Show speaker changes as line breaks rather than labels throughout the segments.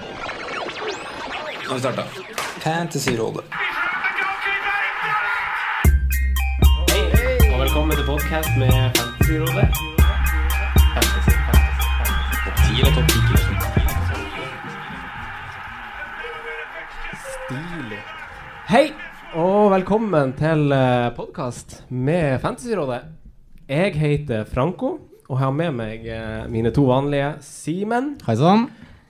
Nå har vi starta.
Fantasyrådet.
Og velkommen til podcast med Fantasyrådet. Hei, og velkommen til eh, podcast med Fantasyrådet. Jeg heter Franco, og har med meg eh, mine to vanlige Simen
Hei sann.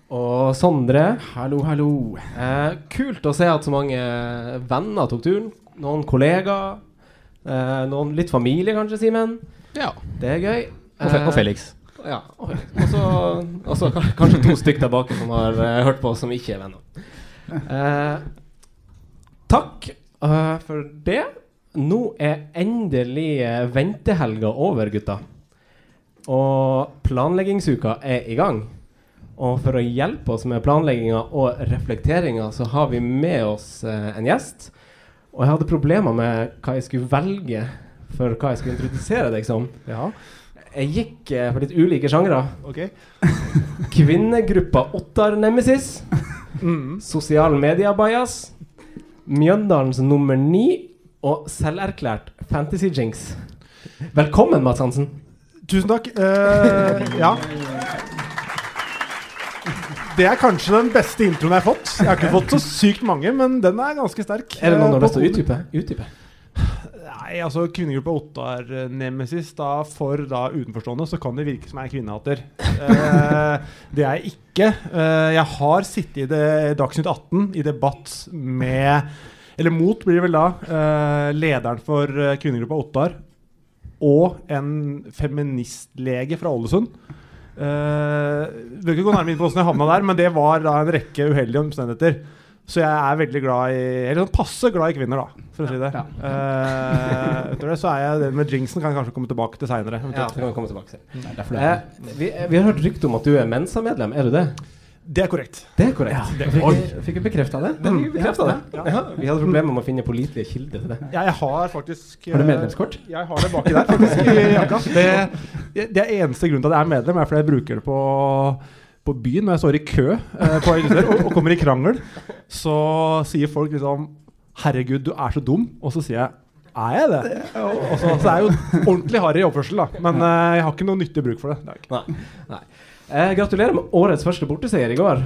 og Sondre.
Hallo, hallo.
Eh, kult å se at så mange venner tok turen. Noen kollegaer. Eh, noen litt familie, kanskje, Simen.
Ja.
Det er gøy.
Og, Fe
Eh,
og Felix.
Ja. Og så og så ka- kanskje to stykk der bak som har eh, hørt på, oss som ikke er venner. Eh, takk eh, for det. Nå er endelig eh, ventehelga over, gutta. Og planleggingsuka er i gang. Og for å hjelpe oss med planlegginga og reflekteringa, så har vi med oss eh, en gjest. Og jeg hadde problemer med hva jeg skulle velge for hva jeg skulle introdusere deg som.
Ja,
Jeg gikk eh, for litt ulike sjangre.
ok.
Kvinnegruppa Ottar Nemesis. Sosial media bias. Mjøndalens nummer ni. Og selverklært Fantasy Jinx. Velkommen, Mads Hansen.
Tusen takk. Eh, ja. Det er kanskje den beste introen jeg har fått. Jeg har ikke fått så sykt mange, men den er ganske sterk.
Er det noen du har
Eh,
lyst til å
på-
utdype? utdype?
Nei, altså Kvinnegruppa Ottar eh, Nemesis, da for da utenforstående, så kan det virke som jeg er kvinnehater. Eh, det er jeg ikke. Eh, jeg har sittet i det, Dagsnytt 18 i debatt med Eller mot, blir det vel da. eh, lederen for eh, kvinnegruppa Ottar og en feministlege fra Ålesund. Uh, vil ikke gå nærmere inn på hvordan jeg havna der, men det var da en rekke uheldige omstendigheter. Så jeg er veldig glad i Eller sånn passe glad i kvinner, da, for å si det. Eh, etter det så er jeg det med jinxen kan jeg kanskje komme tilbake til seinere.
Ja, det kan vi komme tilbake til.
Det er derfor det
Eh,
er
vi, eh, vi har hørt rykte om at du er Mensa-medlem. Er du det?
Det er korrekt.
Det er korrekt.
Det er
fikk,
korrekt.
vi- fikk vi bekrefta det? det, fikk vi, bekreftet det. Ja, vi hadde problemer med å finne pålitelige kilder til det.
Ja, jeg har faktisk
Har du
eh,
medlemskort?
Jeg har det baki der, faktisk. I jakka. Det, det er eneste grunnen til at jeg er medlem, er fordi jeg bruker det på, på byen når jeg står i kø eh, på Elgdør og, og kommer i krangel. Så sier folk liksom 'Herregud, du er så dum', og så sier jeg 'Er jeg det?' Og så, så er jeg jo ordentlig harry i oppførsel, da. Men eh, jeg har ikke noe nyttig bruk for det. det er jeg ikke.
Nei. Nei. Eh, gratulerer med årets første borteseier i går.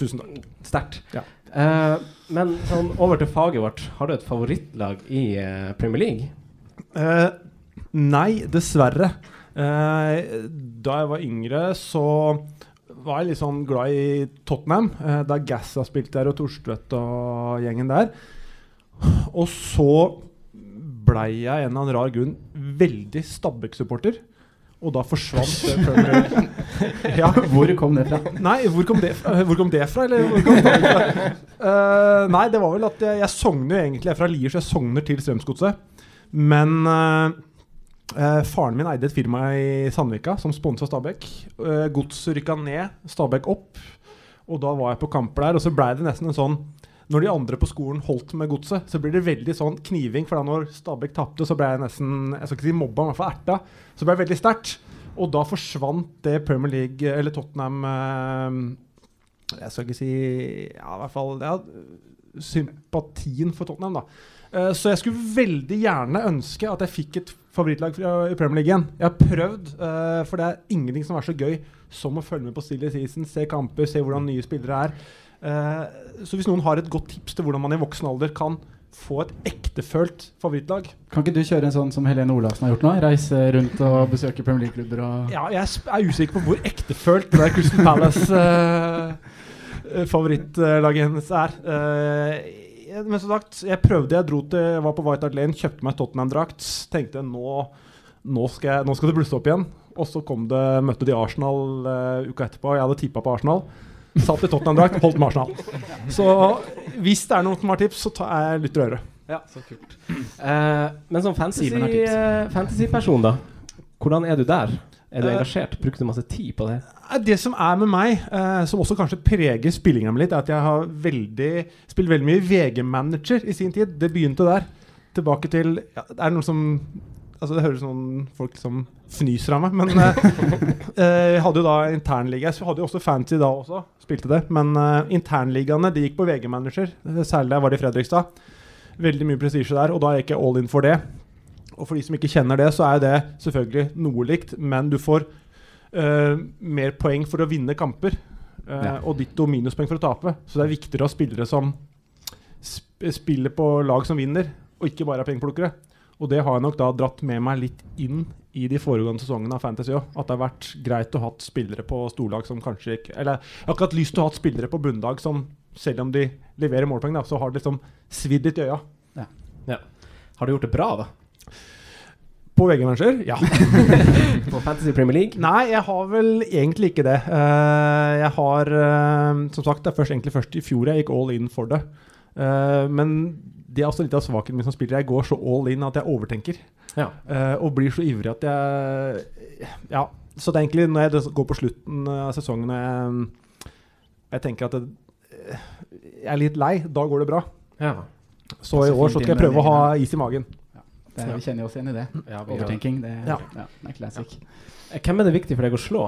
Tusen takk.
Sterkt.
Ja.
Eh, men sånn, over til faget vårt. Har du et favorittlag i eh, Premier League?
Eh, nei, dessverre. Eh, da jeg var yngre, så var jeg litt sånn glad i Tottenham. eh, da Gassa spilte der, og Torstvedt og gjengen der. Og så blei jeg en eller annen rar grunn veldig Stabæk-supporter. Og da forsvant det Premier Ja,
Hvor kom det fra?
Nei, hvor kom det fra? Hvor kom det fra, eller hvor kom det fra? Eh, nei, det var vel at jeg, jeg sogner jo egentlig Jeg er fra Lier, så jeg sogner til Strømsgodset. Men eh, eh, faren min eide et firma i Sandvika som sponsa Stabæk. Uh, Godset rykka ned, Stabæk opp. Og da var jeg på kamper der, og så blei det nesten en sånn når de andre på skolen holdt med godset, så blir det veldig sånn kniving. For da når Stabæk tapte, så ble jeg nesten Jeg skal ikke si mobba, men i hvert fall erta. Så ble jeg veldig sterkt. Og da forsvant det Premier League, eller Tottenham eh, Jeg skal ikke si Ja, i hvert fall ja, sympatien for Tottenham, da. Eh, Så jeg skulle veldig gjerne ønske at jeg fikk et favorittlag fra- i Premier League igjen. Jeg har prøvd, eh, for det er ingenting som er så gøy som å følge med på Stille Season, se kamper, se hvordan nye spillere er. Eh, Så hvis noen har et godt tips til hvordan man i voksen alder kan få et ektefølt favorittlag
Kan ikke du kjøre en sånn som Helene Olafsen har gjort nå? Reise rundt og besøke Premier League-klubber og
Ja, jeg sp- er usikker på hvor ektefølt det der Crystal Palace-favorittlaget hennes er. Eh, jeg- men som sagt, jeg prøvde, jeg dro til, jeg var på White Hart Lane, kjøpte meg Tottenham-drakt. Tenkte nå, nå, skal jeg, nå skal det blusse opp igjen. Og så kom det, møtte de Arsenal eh, uka etterpå, og jeg hadde tippa på Arsenal. Satt i Tottenham-drakt, holdt med Arsenal. Så hvis det er noen som har tips, så tar jeg lytter øret.
Ja, så kult. Eh, men som fantasy,
Simen har tips.
eh, fantasyperson, da. Hvordan er du der? Er du
Eh,
engasjert? Brukte du masse tid på det?
Nei, Eh, Det som er med meg, eh, som også kanskje preger spillinga mi litt, er at jeg har veldig, spilt veldig mye VG-manager i sin tid. Det begynte der. Tilbake til ja, Er det noen som altså Det høres noen folk som fnyser av meg, men eh, eh, jeg hadde jo da internliga. Jeg hadde jo også fancy da også, spilte det. Men eh, internligaene de gikk på VG-manager, eh, særlig da jeg var i Fredrikstad. Veldig mye prestisje der, og da gikk jeg all in for det. Og for de som ikke kjenner det, så er det selvfølgelig noe likt, men du får eh, mer poeng for å vinne kamper. eh,
Ja.
Og ditto minuspoeng for å tape. Så det er viktigere å ha spillere som sp spiller på lag som vinner, og ikke bare er pengeplukkere. Og det har jeg nok da dratt med meg litt inn i de foregående sesongene av Fantasy òg. At det har vært greit å ha hatt spillere på storlag som kanskje ikke Eller jeg har ikke hatt lyst til å ha hatt spillere på bunnlag som, selv om de leverer målpoeng, da, så har det liksom svidd litt i øya.
Har du gjort det bra, da?
På VG-manager, ja.
På Fantasy Premier League?
Nei, jeg har vel egentlig ikke det. Eh, jeg har eh, Som sagt, det er først, egentlig først i fjor jeg gikk all in for det. Eh, men det er også litt av svakheten min som spiller. Jeg går så all in at jeg overtenker.
Ja.
Eh, og blir så ivrig at jeg Ja. Så det er egentlig når jeg des- går på slutten av sesongen og jeg, jeg tenker at det, eh, jeg er litt lei, da går det bra.
Ja.
Så i
Passer
år
fint
så skal
inn
jeg
med den
prøve å ha
ligaen.
is i magen.
Det er, vi kjenner oss igjen i det.
ja vi gjør det.
Overtenking. Det,
Ja.
ja. det er classic.
Hvem er det viktig for deg å slå?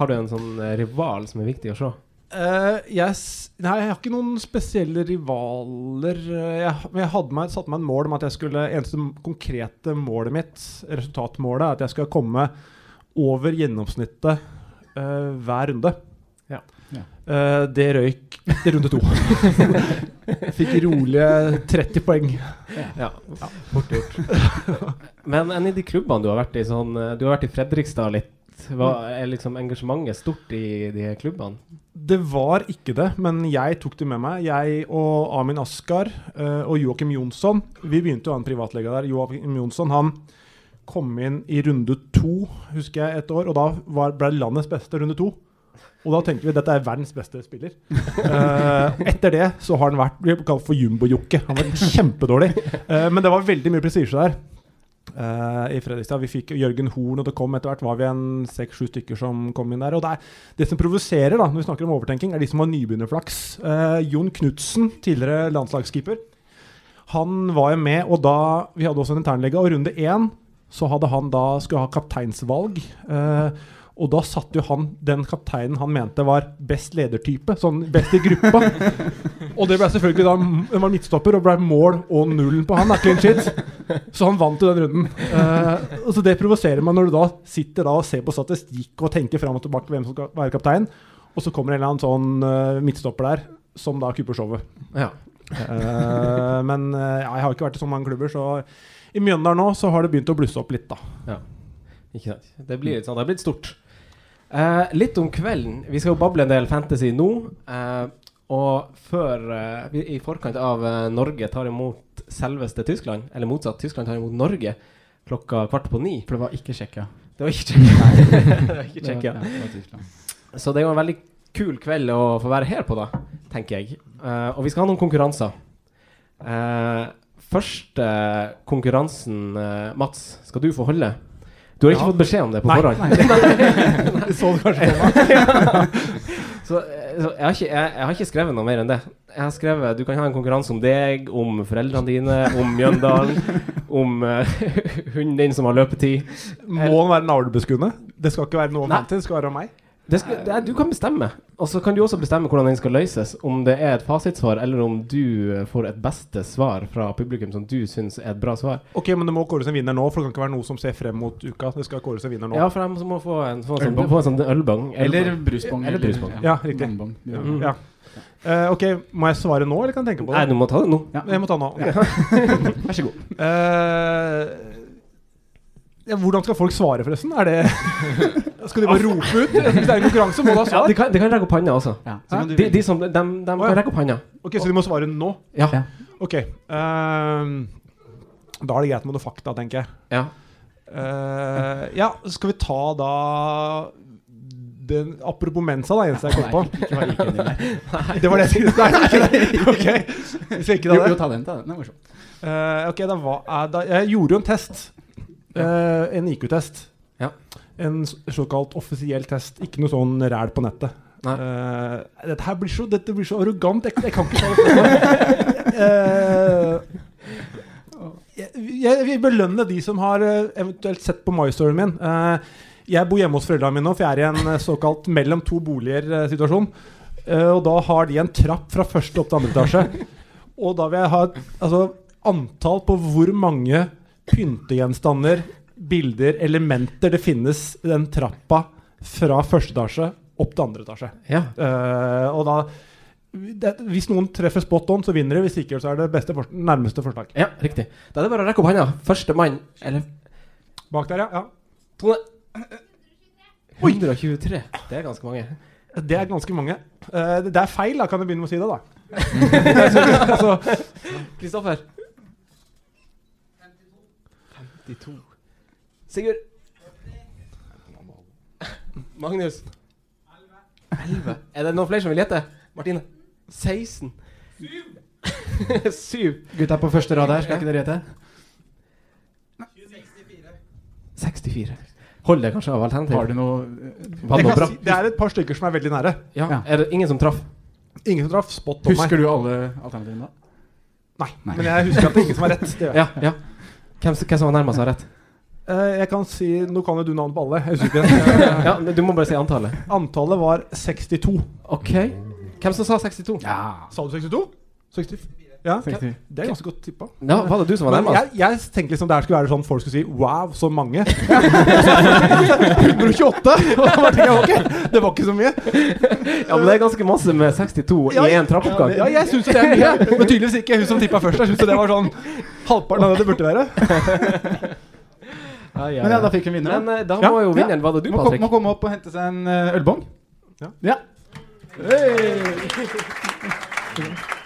Har du en sånn eh, rival som er viktig å slå?
Eh, jeg, s- nei, jeg har ikke noen spesielle rivaler. Eh, Jeg, men jeg hadde meg, satt meg en mål om at jeg skulle eneste m- konkrete målet mitt, resultatmålet, er at jeg skal komme over gjennomsnittet eh, hver runde.
Ja.
Ja.
Eh, det røyk til runde to. Fikk rolige 30 poeng.
Ja. Fort gjort. Men enn i de klubbene du har vært i, sånn eh, Du har vært i Fredrikstad litt. Hva er liksom engasjementet stort i de her klubbene?
Det var ikke det, men jeg tok det med meg. Jeg og Amin Askar eh, og Joakim Jonsson Vi begynte jo å ha en privatlege der. Joakim Jonsson han kom inn i runde to, husker jeg, et år. Og da var, ble det landets beste runde to. Og da tenkte vi dette er verdens beste spiller. Eh, etter det så har han vært vi kalt for jumbojokke. Han var kjempedårlig. Eh, men det var veldig mye prestisje der. eh, I Fredrikstad Vi fikk Jørgen Horn, og det kom etter hvert var vi en seks-sju stykker som kom inn der. Og det er det som provoserer, da, når vi snakker om overtenking, er de som har nybegynnerflaks. Eh, Jon Knutsen, tidligere landslagskeeper, han var jo med, og da Vi hadde også en internlege, og runde én så hadde han da skulle ha kapteinsvalg. eh, og da satte jo han den kapteinen han mente var best ledertype, sånn best i gruppa. og det ble selvfølgelig da Det var midtstopper og ble mål og nullen på han. da, Clean shit. Så han vant jo den runden. Eh, og så Det provoserer meg når du da sitter da og ser på statistikk og tenker fram og tilbake hvem som skal være kaptein, og så kommer en eller annen sånn eh, midtstopper der som da kupper showet.
Ja.
Eh, men eh, ja, jeg har ikke vært i så mange klubber, så i Mjøndalen nå så har det begynt å blusse opp litt, da.
Ikke sant. Det blir litt sånn, det har blitt stort. Eh, litt om kvelden. Vi skal jo bable en del fantasy nå. eh, og før eh, vi i forkant av eh, Norge tar imot selveste Tyskland, eller motsatt, Tyskland tar imot Norge klokka kvart på ni.
For det var ikke Tsjekkia.
Det var ikke Tsjekkia. Det var ikke
Det var-
Tsjekkia.
ja, det var Tyskland.
Så det er jo en veldig kul kveld å få være her på, da, tenker jeg. Eh, og vi skal ha noen konkurranser. Eh, første konkurransen, eh, Mats, skal du få holde. Du har ikke
Ja.
fått beskjed om det på
Nei,
forhånd.
Du så det kanskje på meg.
Så, eh, så jeg, har ikke, jeg, jeg har ikke skrevet noe mer enn det. Jeg har skrevet Du kan ha en konkurranse om deg, om foreldrene dine, om Mjøndalen, om eh, hunden din som har løpetid.
Må den være navlebeskuende? Det skal ikke være noe om
Nei.
han til, det skal være om meg.
Det skal, det er, du kan bestemme. Og så kan du også bestemme hvordan den skal løses. Om det er et fasitsvar, eller om du eh, får et beste svar fra publikum som du syns er et bra svar.
Ok, Men det må kåres en vinner nå, for det kan ikke være noe som ser frem mot uka. Det skal kåres en vinner nå.
Ja, for jeg må få en, få en, sånn, få en sånn ølbong.
Eller
Ølbong.
brusbong.
Eller brusbong.
Ja, riktig.
Bonbong. Ja.
Mm.
Ja. Eh, ok, Må jeg svare nå, eller kan jeg tenke på
Nei,
det?
du må ta det nå.
Ja.
Jeg må ta nå.
Ja.
Ok.
Vær så god.
Eh, ja, hvordan skal folk svare, forresten? Er det Skal de bare rope ut? Hvis det er en konkurranse, må de ha
de,
svar.
kan, de kan rekke opp handa også.
Ja.
Hæ?
Så kan du
De, de som, de,
Å,
kan
ja.
rekke opp handa.
Ok, Så de må svare nå?
Ja.
Ja.
Ok. ehm, da er det greit med noe fakta, tenker jeg.
ja.
Eh, ja, skal vi ta da den, Apropos Mensa, da, eneste jeg kom på.
Ikke vær like enig der.
Det var det jeg skulle Nei, ikke det. Ok, Hvis jeg ikke
Jo,
hadde
jo, ta den. Ta den. Den var morsom.
Eh, ok, da hva er da Jeg gjorde jo en test. Eh, en IQ-test.
Ja.
En s- såkalt offisiell test. Ikke noe sånn ræl på nettet.
Nei.
Eh, dette her blir så, dette blir så arrogant. Jeg, jeg kan ikke ta det for meg. Eh, jeg, jeg vil belønne de som har eh, eventuelt sett på MyStoryen min. Eh, Jeg bor hjemme hos foreldrene mine nå, for jeg er i en eh, såkalt mellom to boliger-situasjon. Eh, Og da har de en trapp fra første opp til andre etasje. Og da vil jeg ha et altså, antall på hvor mange pyntegjenstander, bilder, elementer det finnes i den trappa fra første etasje opp til andre etasje.
Ja.
Eh, og da det, Hvis noen treffer spot on, så vinner de. Hvis ikke, så er det beste fors- nærmeste forslag.
ja, riktig. Da er det bare å rekke opp hånda. Førstemann, eller
Bak der, ja.
Tone. 123. Det er ganske mange.
ja. Det er ganske mange. Eh, det det er feil, da, kan jeg begynne med å si det, da. altså,
Kristoffer? 52. Sigurd? Magnus? 11. Er det noen flere som vil gjette? Martine? 16? 7. 7.
Gutta på første rad her, skal ikke dere gjette?
64. Hold deg kanskje av
Har
alternativ.
du noe eh,
Var det
jeg
noe
kan
bra?
si, det er et par stykker som er veldig nære.
Ja.
Ja.
Er det ingen som traff?
Ingen som traff spot on meg.
Husker du alle alternativene da?
Nei, Men jeg husker at det er ingen som er rett. Det gjør jeg.
Ja. ja. Hvem, s- hvem som var nærmest, har rett.
Eh, jeg kan si Nå kan jo du navnet på alle. Jeg husker ikke det.
Ja, men Du må bare si antallet.
Eh, Antallet var 62.
OK. Hvem som sa 62?
Ja.
Sa du 62? 64. Ja,
Seksti.
Det er ganske godt tippa.
Ja, var det du som var
Men
nærmest?
jeg, jeg tenkte liksom det her skulle være sånn folk skulle si Wow, så mange. 128! Og da bare tenkte jeg, ok, Det var ikke så mye.
Ja, men det er ganske masse med 62
Ja,
i én trappeoppgang.
Ja, jeg syns jo det er mye, men tydeligvis ikke hun som tippa først. Jeg syns jo det var sånn halvparten av det det burde være.
Men ja, da fikk vi en vinner.
Men
da.
eh, da
Ja.
må jo vinneren Var det du,
Må, kom,
Patrick?
må komme opp og hente seg en eh, ølbong.
Ja.
Hey!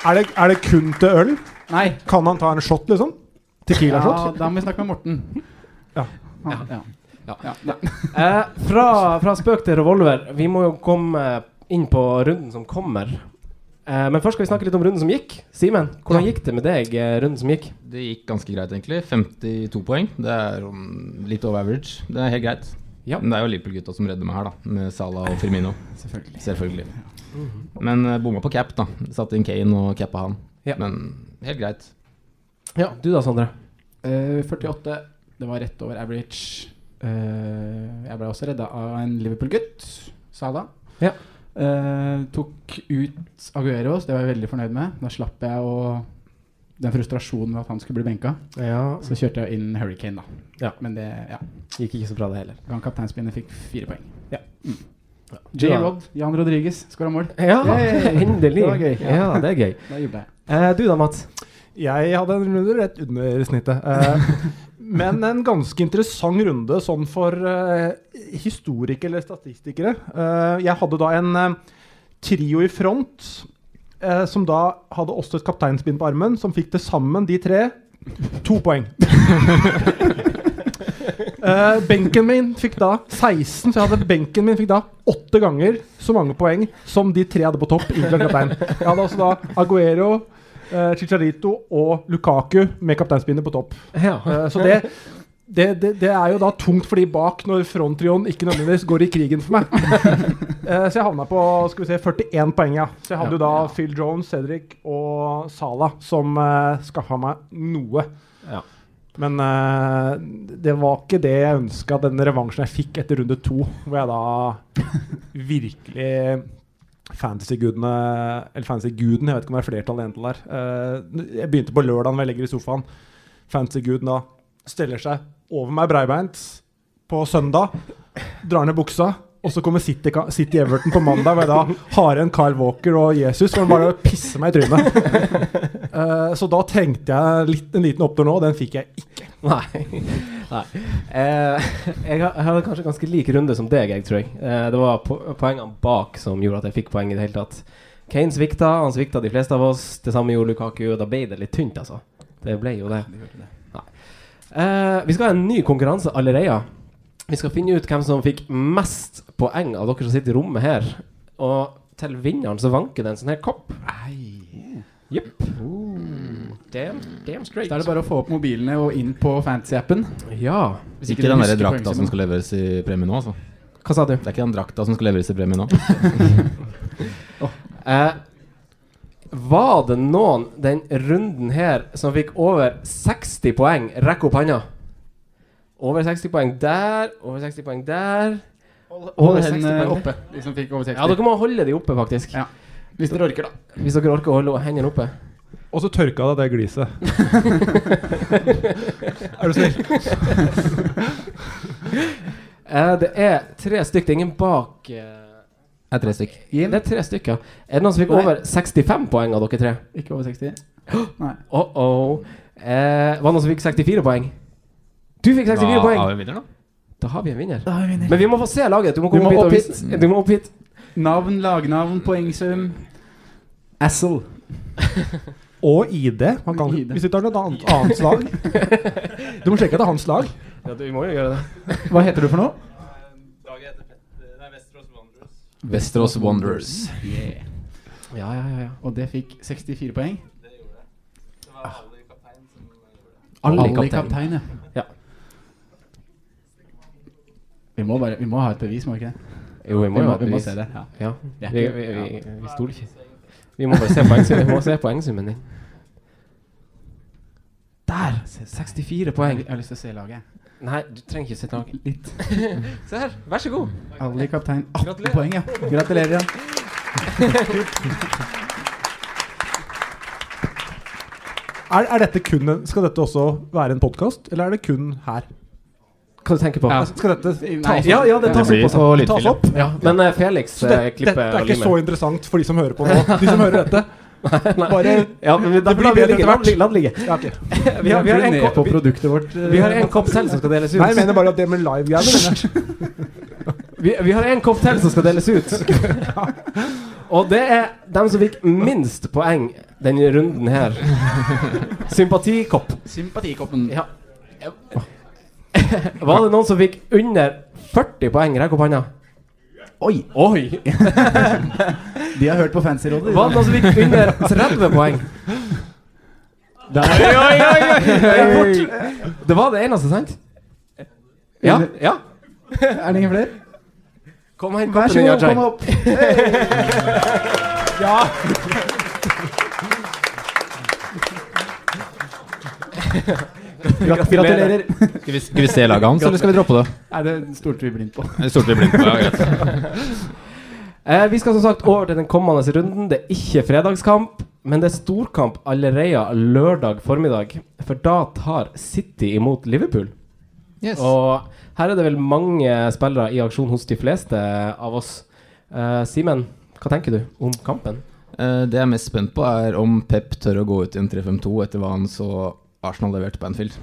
Er det, er det kun til øl?
Nei.
Kan han ta en shot, liksom?
Ja,
Tequila-shot?
da må vi snakke med Morten.
Ja.
Han, ja.
Ja.
Ja. Ja.
Eh, fra, fra spøk til revolver. Vi må jo komme eh, inn på runden som kommer. Eh, men først skal vi snakke litt om runden som gikk. Simen, hvordan gikk det med deg? eh, runden som gikk
Det gikk ganske greit, egentlig. 52 poeng. Det er um, litt over average. Det er helt greit.
Ja.
Men det er jo Liverpool-gutta som redder meg her, da. Med Salah og Firmino.
Selvfølgelig.
Selvfølgelig. Men eh, bomma på cap, da. Satte inn Kane og cappa han.
Ja.
Men helt greit.
Ja, Du da, Sondre?
Eh, 48. Det var rett over average. Eh, jeg ble også redda av en Liverpool-gutt, Salah.
Ja.
Eh, tok ut Agueros, det var jeg veldig fornøyd med. Da slapp jeg å den frustrasjonen ved at han skulle bli benka.
Ja.
Så kjørte jeg inn Hurricane, da.
Ja.
Men det ja.
Gikk ikke så bra, det heller.
Gang kapteinspinnet fikk fire poeng.
Ja.
Mm. J-Rod, Jan Rodriguez, skåra mål.
Ja,
Yay!
endelig.
Det var gøy.
Ja. det er gøy.
Da jubla jeg.
Eh, du da, Mats?
Jeg hadde en runde rett under snittet. Eh, men en ganske interessant runde sånn for eh, historikere eller statistikere. Eh, jeg hadde da en eh, trio i front, eh, som da hadde også et kapteinspinn på armen, som fikk til sammen, de tre, to poeng. Eh, benken min fikk da 16, så jeg hadde benken min fikk da åtte ganger så mange poeng som de tre hadde på topp, inkludert kaptein. Jeg hadde også da Aguero, eh, Chicharito og Lukaku med kapteinspinnet på topp.
Ja.
Eh, så det, det, det, det er jo da tungt for de bak når fronttrioen ikke nødvendigvis går i krigen for meg. Eh, så jeg havna på skal vi se, 41 poeng, ja. Så jeg hadde jo da Phil Jones, Cedric og Salah som uh, skaffa meg noe.
Ja.
Men eh, det var ikke det jeg ønska, den revansjen jeg fikk etter runde to, hvor jeg da virkelig Fantasy-gudene Eller Fantasy-guden, jeg vet ikke om det er flertall eller entall der. Eh, jeg begynte på lørdagen hvor jeg ligger i sofaen. Fantasy-guden da steller seg over meg breibeint på søndag, drar ned buksa, og så kommer City, City Everton på mandag, hvor jeg da har igjen Kyle Walker og Jesus, som bare pisser meg i trynet. Eh, så da trengte jeg litt, en liten opptur nå, og den fikk jeg ikke.
Nei. Nei. Eh, jeg ha- jeg hadde kanskje ganske lik runde som deg, jeg tror jeg. Eh, det var po poengene bak som gjorde at jeg fikk poeng i det hele tatt. Kane svikta, han svikta de fleste av oss. Det samme gjorde Lukaku, og da ble det litt tynt, altså. Det ble jo det. Nei. Eh, vi skal ha en ny konkurranse allerede. Vi skal finne ut hvem som fikk mest poeng av dere som sitter i rommet her. Og til vinneren så vanker det en sånn her kopp. Jepp. Damn, damn straight.
Da er det bare å få opp mobilene og inn på fantasy-appen.
Ja.
Hvis
Ikke
dere
den der
husker
drakta som
poengsystemet.
skal leveres i premie nå, altså.
Hva sa du?
Det er ikke den drakta som skal leveres i premie nå.
Eh, Var det noen den runden her som fikk over 60 poeng? Rekk opp handa. Over 60 poeng der, over 60 poeng der.
Hold
Over 60
hendene
poeng.
oppe, de som fikk over 60.
Ja, dere må holde de oppe, faktisk.
Ja. Hvis dere orker, da.
Hvis dere orker å holde hendene oppe.
Og så tørka deg det gliset. er du snill?
Eh, det er tre stykk. Det er ingen bak eh,
Det er tre stykk.
Det er tre stykker. Er det noen som fikk
Nei.
over 65 poeng av dere tre?
Ikke over 60? Nei.
Oh -oh. Eh, var det noen som fikk 64 poeng? Du fikk 64 poeng!
har vi vinner, da?
Da har vi en vinner.
Da har vi vinner.
Men vi må få se laget. Du må komme
må
opp
opp
hit. og vise-
hit.
Du må opp hit.
Navn, lagnavn, poengsum. Assel.
Og ID. Man kan,
ID.
Hvis du tar et annet, annet lag Du må sjekke at det er hans lag.
Ja, du må jo gjøre det.
Hva heter du for noe?
Westerås Wonders.
Ja, ja, ja, ja.
Og det fikk 64 poeng.
Alle
Alle i
kaptein.
kaptein, ja.
Ja.
Vi må, bare, vi må ha et bevis, må vi ikke det?
Jo, vi
Vi
må jo
må,
ha
vi må
bevis.
se det. Ja.
Ja.
Ja.
Vi, vi, vi, vi stoler ikke. Vi må bare se poengsummen. Vi må se poengsummen din. Der! 64 poeng.
Jeg har lyst til å se laget.
Nei, du trenger ikke sitte laget.
Litt.
Se her. Vær så god.
Alle i kaptein. 18
Gratulerer.
poeng, ja. Gratulerer, ja.
Er, er dette kun en, skal dette også være en podkast, eller er det kun her?
Hva du tenker på?
Altså, Skal dette
Nei.
tas opp? Ja, ja, det
Det
tas
blir
opp.
på
Også.
lydfil,
Tas
ja.
opp.
Ja, men eh, Felix
Så det,
eh,
dette
klipper
er
og
ikke så
limer.
interessant for de som hører på nå. De som hører dette. Bare
Ja, men vi- da
blir
lar vi
bedre
ligge.
etter
La
hvert.
den ligge, la den ligge.
ja, ok.
Vi har, vi har en
ned
kopp
på produktet vårt. eh.
vi har en kopp til som skal deles
Nei, jeg
ut.
mener bare at det med live-greiene
Vi, vi har en kopp til som skal deles ut. Og det er dem som fikk minst poeng denne runden her. Sympatikopp.
Sympatikoppen.
Ja. Var det noen som fikk under 40 poeng? Rekk opp hånda.
Oi!
Oi!
De har hørt på Fancyrådet. de
Var
da.
det noen som fikk under 30 poeng?
Der.
Oi, oi, oi, oi, oi. Det var det eneste, sant? Ja. ja
Er det ingen flere?
Kom og hent
Vær
koppen
så
din,
god,
Ajay.
kom opp. Gratulerer.
Skal vi, skal vi se laget hans, eller skal vi droppe det?
Nei, det stolte vi blindt på.
Det stolte vi blindt på. Ja, greit.
Eh, vi skal som sagt over til den kommende runden. Det er ikke fredagskamp, men det er storkamp allerede lørdag formiddag. For da tar City imot Liverpool.
Yes.
Og her er det vel mange spillere i aksjon hos de fleste av oss. Eh, Simen, hva tenker du om kampen?
Eh, det jeg er mest spent på, er om Pep tør å gå ut i en 3-5-2 etter hva han så Arsenal leverte på Anfield.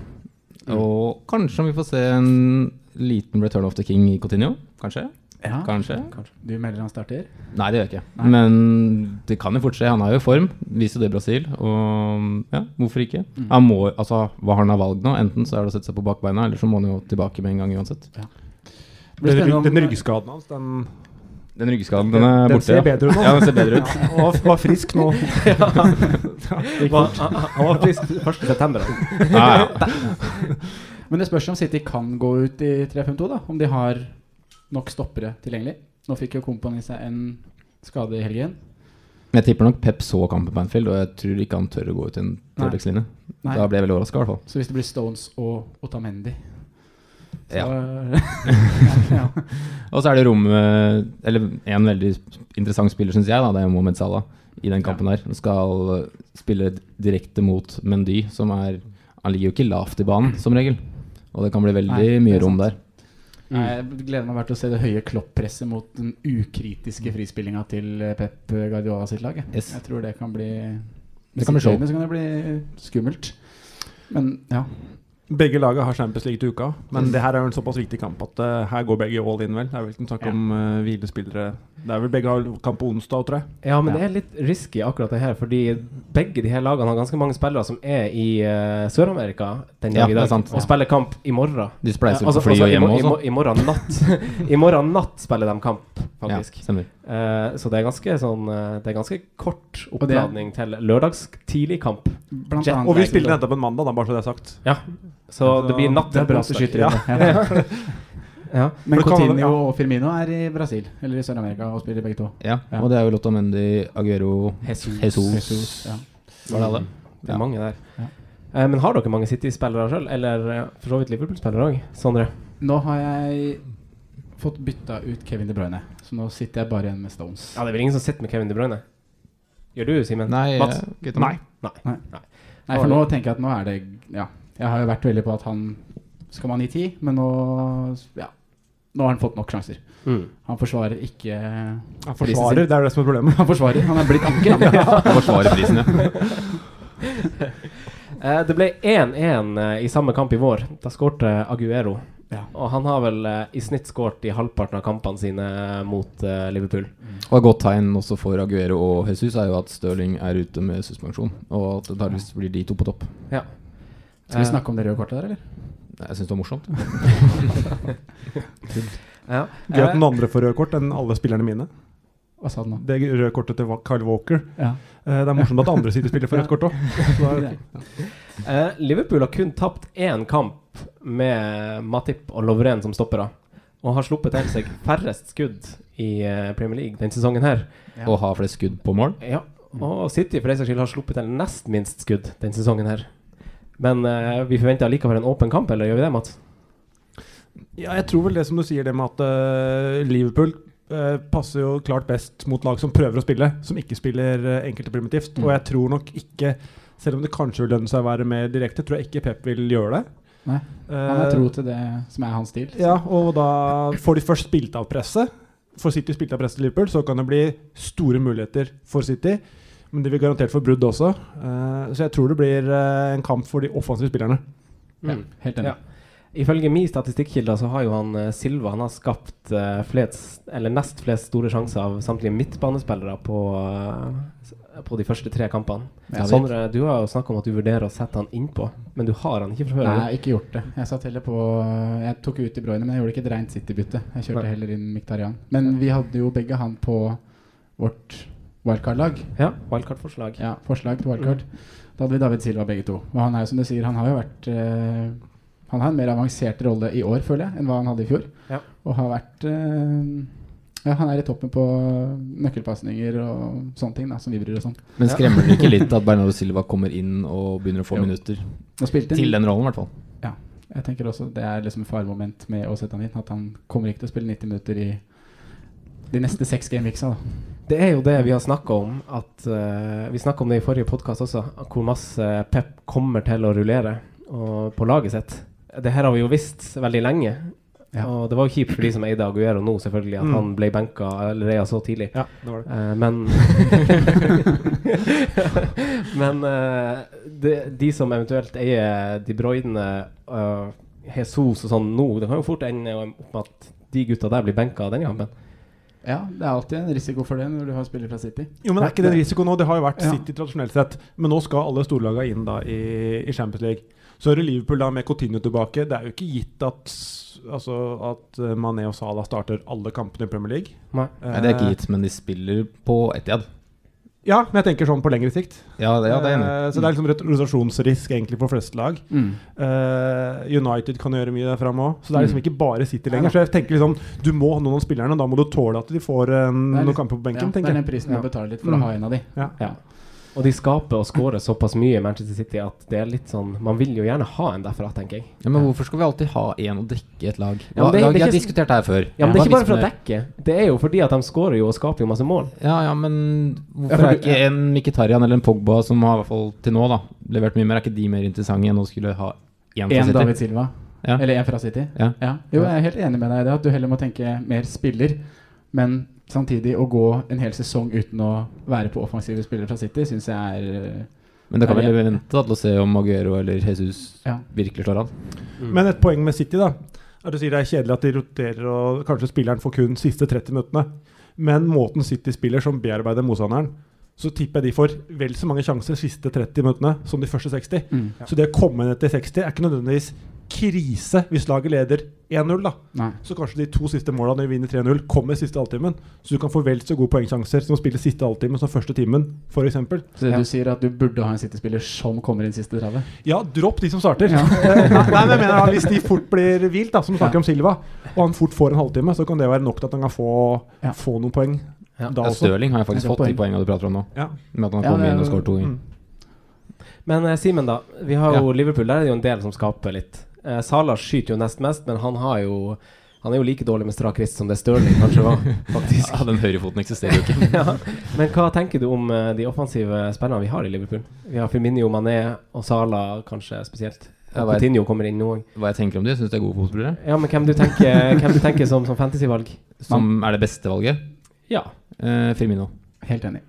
Og kanskje om vi får se en liten return of the king i Coutinho Kanskje?
Ja.
Kanskje?
Du melder han starter?
Nei, det gjør jeg ikke. Men det kan jo fort skje. Han er jo i form. Viser jo det Brasil. Og ja, hvorfor ikke? Han må, altså, Hva har han av valg nå? Enten så er det å sette seg på bakbeina, eller så må han jo tilbake med en gang uansett.
Blir
denne.
spennende om-
Den ryggskaden hans, den,
Den ryggskaden, den er
den
borte.
ser bedre ut nå.
Ja, den ser bedre ut.
Han var, var frisk nå.
Hva- Han var frisk 1.9.
Ja, ja.
Men det spørs om City kan gå ut i 3-5-2, da. Om de har nok stoppere tilgjengelig. Nå fikk jo Kompani seg en skade i helgen.
Men jeg tipper nok Pep så kampen på Anfield, og jeg tror ikke han tør å gå ut i en
Nei.
trebekslinje.
Nei.
Da ble jeg veldig overraska, i hvert fall.
Så hvis det blir Stones og Otamendi så,
Ja.
ja.
Mm.
Og så er det rom eh, Eller en veldig interessant spiller, syns jeg, da, det er Mohammed Salah i den kampen her. Han skal spille direkte mot Mendy, som er Han ligger jo ikke lavt i banen, som regel. Og det kan bli veldig
Nei, det
mye
er
rom
sant.
der.
Nei, Jeg gleder meg bare til å se det høye kloppresset mot den
Mm.
ukritiske frispillinga til eh, Pep Guardiola sitt lag. jeg.
Yes.
Jeg tror det kan bli
Det kan bli show.
Så kan det bli skummelt. Men ja.
Begge laga har Champions League til uka, men det her er jo en såpass viktig kamp at eh, her går begge all in, vel. Det er vel ikke en snakk om eh, hvilespillere Det er vel begge har kamp på onsdag, tror jeg.
Ja, men det er litt risky akkurat det her, fordi begge de her lagene har ganske mange spillere som er i eh, Sør-Amerika den
Ja,
dag i
det er
dag,
sant.
og spiller kamp i morgen.
De spleiser
Eh,
jo på fly og
i
hjemme
mor- i
også.
mor- I morgen natt I morgen natt spiller de kamp, faktisk.
Ja, stemmer.
Eh, så det er ganske sånn eh, Det er ganske kort
det er-
oppladning til lørdags tidlig kamp.
Blant
Jet-
annet
Og vi spiller nettopp en mandag, da, bare så det er sagt.
Ja. Så det blir natt
Det er bra at du
onsdag.
skyter
Ja.
inn det. Ja.
Ja.
Men
For det kan være-
Coutinho
ja.
og Firmino er i Brasil, eller i Sør-Amerika, og spiller begge to.
Ja,
Ja.
og det er jo Lotto Mendy, Aguero
Jesus.
Jesus.
Jesus, ja.
Var det alle?
Det er mange der.
Mm. Ja.
Eh, men har dere mange City-spillere sjøl? Eller eh, for så vidt Liverpool-spillere òg? Sondre?
Nå har jeg fått bytta ut Kevin De Bruyne, så nå sitter jeg bare igjen med Stones.
Ja, det er vel ingen som sitter med Kevin De Bruyne? Gjør du, Simen?
Nei,
Mats?
eh, gutta.
Nei.
Nei, for nå tenker jeg at nå er det Ja. Jeg har jo vært veldig på at han skal man gi ti, men nå Ja. Nå har han fått nok sjanser.
Mm.
Han forsvarer ikke
Han forsvarer, det er jo det som er problemet.
Han forsvarer. Han er blitt anker.
Han forsvarer prisen, ja.
Eh, det ble 1-1 eh, i samme kamp i vår. Da skårte Aguero.
Ja.
Og han har vel eh, i snitt skåret i halvparten av kampene sine mot eh, Liverpool.
Og et godt tegn også for Aguero og Jesus er jo at Stirling er ute med suspensjon. Og at det antageligvis blir de to på topp.
Skal
Eh,
vi snakke om det røde kortet der, eller?
Nei, Jeg syns det var morsomt.
Ja.
Gøy at
Eh,
noen andre får røde kort enn alle spillerne mine.
Hva sa du nå?
Det røde kortet til Kyle Walker.
Ja.
Eh, Det er morsomt at andre sitter og spiller for rødt kort òg.
Eh, Liverpool har kun tapt én kamp med Matip og Lovren som stoppere. Og har sluppet til seg færrest skudd i eh, Premier League denne sesongen. her
Ja.
Og har flest skudd på mål.
Ja, Og City for den saks skyld har sluppet til nest minst skudd denne sesongen. her Men eh, vi forventer allikevel en åpen kamp, eller gjør vi det, Mats?
Ja, jeg tror vel det som du sier, det med at eh, Liverpool eh, passer jo klart best mot lag som prøver å spille, som ikke spiller eh, enkelt
Mm.
og primitivt. Og jeg tror nok ikke, selv om det kanskje vil lønne seg å være mer direkte, tror jeg ikke Pep vil gjøre det.
Nei. Han har tro til det som er hans stil.
Eh, ja, og da får de først spilt av presset. Får City spilt av presset til Liverpool, så kan det bli store muligheter for City. Men de vil garantert få brudd også. Eh, så jeg tror det blir eh, en kamp for de offensive spillerne.
Ja,
Mm.
helt enig.
Ja. Ifølge min statistikkilde så har jo han eh, Silva Han har skapt eh, flest, eller nest flest store sjanser av samtlige midtbanespillere på, eh, s- på de første tre kampene.
Ja, det-
Sondre, du har jo snakka om at du vurderer å sette han innpå, men du har han ikke fra før?
Nei, ikke gjort det. Jeg satt heller på Jeg tok ut De Bruyne, men jeg gjorde ikke et rent City-bytte. Jeg kjørte
Nei.
heller inn Miktarian. Men vi hadde jo begge han på vårt wildcard-lag.
Ja, wildcard-forslag.
Ja, forslag til wildcard. Da hadde vi David Silva begge to. Og han er jo som du sier, han har jo vært eh, Han har en mer avansert rolle i år, føler jeg, enn hva han hadde i fjor.
Ja.
Og har vært eh, Ja, han er i toppen på nøkkelpasninger og sånn. sånne ting da, som vi bryr oss om.
Men skremmer det ikke litt at Bernardo Silva kommer inn og begynner å få
Jo.
minutter?
Og spilte
Til den rollen, i hvert fall.
Jeg tenker også Det er liksom faremoment med å sette han inn. At han kommer ikke til å spille 90 minutter i de neste seks gameweeksa. da.
Det er jo det vi har snakka om. At, eh, vi snakka om det i forrige podkast også, at hvor masse Pep kommer til å rullere og, på laget sitt. Det her har vi jo visst veldig lenge.
Ja.
Og det var jo kjipt for de som eide Aguero nå, selvfølgelig, at
Mm.
han ble benka allerede så tidlig.
Ja, det var det.
Eh, men Men eh, de, de som eventuelt eier De Bruyne, eh, Jesus og sånn nå, det kan jo fort ende opp med at de gutta der blir benka denne kampen.
Ja, det er alltid en risiko for det når du har spillere fra City.
Jo, men det er ikke den risikoen nå. Det har jo vært
Ja.
City tradisjonelt sett. Men nå skal alle storlagene inn da i, i Champions League. Så er det Liverpool da med Coutinho tilbake. Det er jo ikke gitt at, altså, at eh, Mané og Salah starter alle kampene i Premier League. Eh,
Nei.
Nei, det er ikke gitt, men de spiller på Etiad.
Ja, men jeg tenker sånn på lengre sikt.
Ja, det, ja, det er enig. Mm.
Eh, så det er liksom rotasjonsrisk egentlig for fleste lag.
Mm.
Eh, United kan gjøre mye der framme òg. Så det
Mm.
er liksom ikke bare City lenger. Så jeg tenker liksom, du må ha noen av spillerne, og da må du tåle at de får eh,
Det er
noen
litt-
kamper på
Ja,
benken,
det er
tenker
den
jeg.
prisen
Ja.
man betaler litt for å
Mm.
ha en av de.
Ja.
Og de skaper og skårer såpass mye i Manchester City at det er litt sånn Man vil jo gjerne ha en derfra, tenker jeg.
Ja, men hvorfor skal vi alltid ha én og dekke et lag?
Ja, men det-
lag
det er
vi har
ikke-
diskutert det her før.
Ja, men Det er ikke bare for å
Hva hvis
dekke. Det er jo fordi at de skårer jo og skaper jo masse mål.
vi- Ja, ja, men
Ja, for
hvorfor er
du-
ikke en Mkhitaryan eller en Pogba, som har i hvert fall til nå da levert mye mer, er ikke de mer interessante enn å skulle ha én
En
fra
David
City?
Silva.
Ja.
Eller en fra City.
Ja.
Jo, jeg er helt enig med deg i det. At du heller må tenke mer spiller. Men samtidig å gå en hel sesong uten å være på offensive spillere fra City, syns jeg er eh,
Men da kan
Ja,
vi vente da, til å se om Aguero eller Jesus
Ja.
virkelig slår an.
Men et poeng med City da er at du sier det er kjedelig at de roterer og kanskje spilleren får kun siste 30 minuttene. Men måten City spiller som bearbeider motstanderen, så tipper jeg de får vel så mange sjanser siste 30 minuttene som de første 60.
mm.
Så det å komme ned til 60 er ikke nødvendigvis krise hvis laget leder 1-0, da.
Nei.
Så kanskje de to siste målene når vi vinner 3-0, kommer siste halvtimen. Så du kan få vel så gode poengsjanser som å spille siste halvtimen som første timen, f.eks.
Så du sier at du burde ha en City-spiller som kommer inn siste 30?
Ja, dropp de som starter.
Ja.
Eh, nei, nei, men jeg mener da, Hvis de fort blir hvilt, da, som vi snakker om Silva, og han fort får en halvtime, så kan det være nok til at han kan få,
Ja.
få noen poeng
Ja.
da også.
Stirling har jeg faktisk
Det er et
fått de poengene du prater om nå.
Ja.
Med at han
Ja,
har kommet
det er-
inn og skåret to ganger.
Mm.
Men eh, Simen, da. Vi har jo
Ja.
Liverpool. Der er det jo en del som skaper litt. Eh, Salah skyter jo nest mest, men han har jo Han er jo like dårlig med strak rist som det Stirling kanskje var, faktisk.
Ja, den høyrefoten eksisterer jo ikke.
ja. Men hva tenker du om eh, de offensive spillerne vi har i Liverpool? Vi har Firmino, Mané og Salah kanskje spesielt.
Jeg
Og
vet.
Coutinho kommer inn nå òg.
Hva jeg tenker om de, syns de er gode fotballspillere.
Ja, men hvem du tenker, hvem du tenker som, som fantasyvalg?
Som er det beste valget.
Ja,
Eh, Firmino.
Helt enig.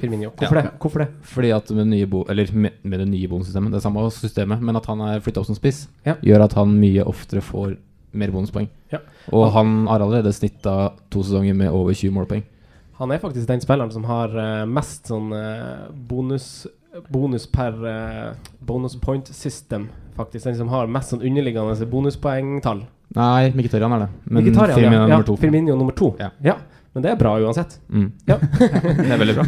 Firmino. Hvorfor
Ja.
det? Hvorfor det?
Fordi at med, nye bo eller med, med det nye bonussystemet, det er samme systemet, men at han er flytta opp som spiss,
Ja.
gjør at han mye oftere får mer bonuspoeng.
Ja.
Og han har allerede snitta to sesonger med over 20 målpoeng.
Han er faktisk den spilleren som har eh, mest sånn eh, bonus Bonus per eh, bonus point system, faktisk. Den som har mest sånn underliggende bonuspoengtall.
Nei, Mkhitaryan er det, men
Mkhitaryan,
Firmino
ja.
er nummer to.
Ja, Firmino nummer to.
Ja.
Men det er bra uansett.
Mm.
Ja.
det er veldig bra.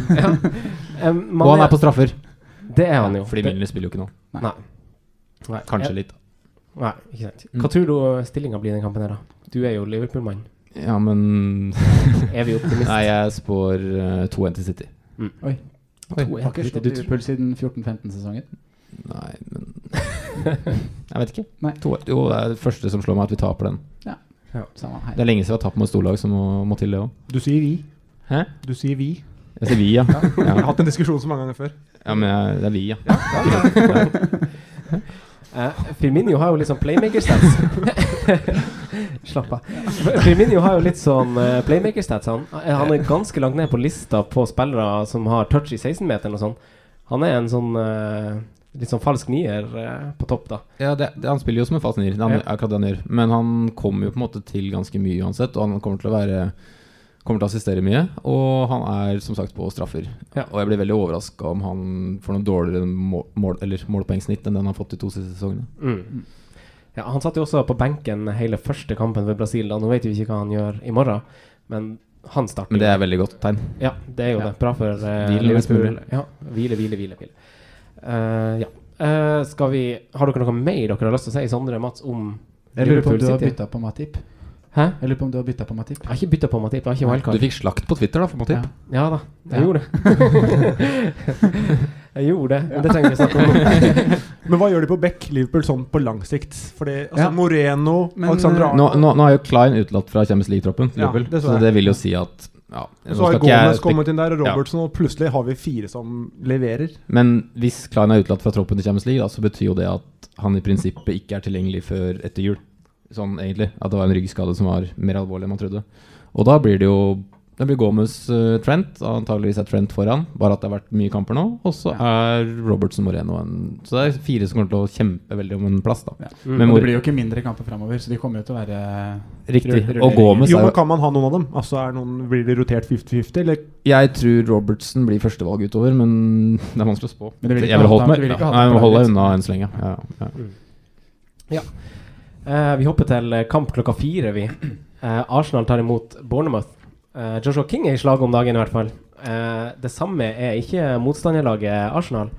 Um,
Og han er på straffer,
Det er han jo.
fordi Milner spiller jo ikke nå.
Det- nei,
Kanskje
jeg-
litt.
Nei, ikke sant.
Mm.
Hva tror du stillinga blir i den kampen her, da? Du er jo Liverpool-mann.
Ja, men
Er vi optimister?
Nei, jeg spår eh, 2-1 til City.
To,
Har ikke
jeg,
slått Liverpool siden 14-15-sesongen.
Nei, men Jeg vet ikke.
Nei.
2-1. Jo, det er det første som slår meg, at vi taper den.
Samme
Det
her.
er lenge siden vi har tapt mot storlag, så må, må til det òg.
Du sier vi.
Hæ?
Du sier vi.
Jeg sier vi, ja.
Vi har
ja.
hatt en diskusjon så mange ganger før.
Ja, men jeg, det er vi, ja.
Eh, Firmino har jo litt sånn playmaker-stats. Slapp av. Firmino har jo litt sånn eh, playmaker-stats. Han, Eh, han er ganske langt ned på lista på spillere som har touch i 16-meteren og sånn. Han er en sånn eh, litt sånn falsk nier eh, på topp, da.
ja det, det, han spiller jo som en fast nier, det er han-
Ja.
akkurat det han gjør. Men han kommer jo på en måte til ganske mye uansett, og han kommer til å være Kommer til å assistere mye, og han er som sagt på straffer.
Ja.
Og jeg blir veldig overraska om han får noe dårligere mål, mål, eller målpoengsnitt enn den han har fått de to siste sesongene.
Mm. Ja, han satt jo også på benken hele første kampen ved Brasil. Da. Nå vet vi ikke hva han gjør i morgen, men han starter.
Men det er veldig godt tegn.
ja, det er jo
Ja.
det. Bra for eh,
Hvile mest
Liverpool.
mulig.
Ja, hvile, hvile, hvile. hvile. Eh, ja. Eh, skal vi, har dere noe mer dere har lyst til å si, Sondre Mats, om
Jeg lurer på om
Liverpool
du har
City?
bytta på Matip.
Hæ?
Jeg lurer på om du har byttet på Matip.
Jeg har ikke bytta på Matip. Jeg har ikke
Du
wildcard.
fikk slakt på Twitter, da, for Matip.
Ja.
Ja da, jeg
Ja.
gjorde det. jeg gjorde det. Men det trenger vi ikke snakke om.
Men hva gjør de på Beck Liverpool sånn på lang sikt? Fordi altså,
Ja.
Moreno,
Men,
Alexander
eh,
Arnold
Nå, nå, nå er jo Klein utelatt fra Champions League-troppen, til
Ja,
Liverpool.
det så
så
jeg.
det vil jo si at ja, nå
Så har
skal ikke jeg
Gomez
spek-
kommet inn der, og
Ja.
Robertson, og plutselig har vi fire som leverer.
Men hvis Klein er utelatt fra troppen til Champions League, da, så betyr jo det at han i prinsippet ikke er tilgjengelig før etter jul. Sånn egentlig. At det var en ryggskade som var mer alvorlig enn man trodde. Og da blir det jo Da blir Gomez eh, Trent. Antageligvis er Trent foran, bare at det har vært mye kamper nå. Og så er Robertson Moreno en Så det er fire som kommer til å kjempe veldig om en plass, da.
Ja.
Mm.
Men
Og
hvor,
det blir jo ikke mindre kamper framover, så de kommer jo til å være
riktig.
rull-
Og Gomez
Jo,
er
men
jo
Kan man ha noen av dem? Altså, er noen, Blir de rotert 50-50, eller
Jeg tror Robertson blir førstevalg utover, men det er vanskelig å spå.
Men det vil ikke
jeg
ha
vil holde
hatt han-
meg
det vil
ja.
ikke ha hatt
Nei,
han
jeg må
på
holde
laget.
unna enn så lenge. Ja, ja.
Eh, vi hopper til eh, kamp klokka fire, vi. Eh, Arsenal tar imot Bournemouth. Eh, Joshua King er i slaget om dagen, i hvert fall. Eh, det samme er ikke motstanderlaget Arsenal.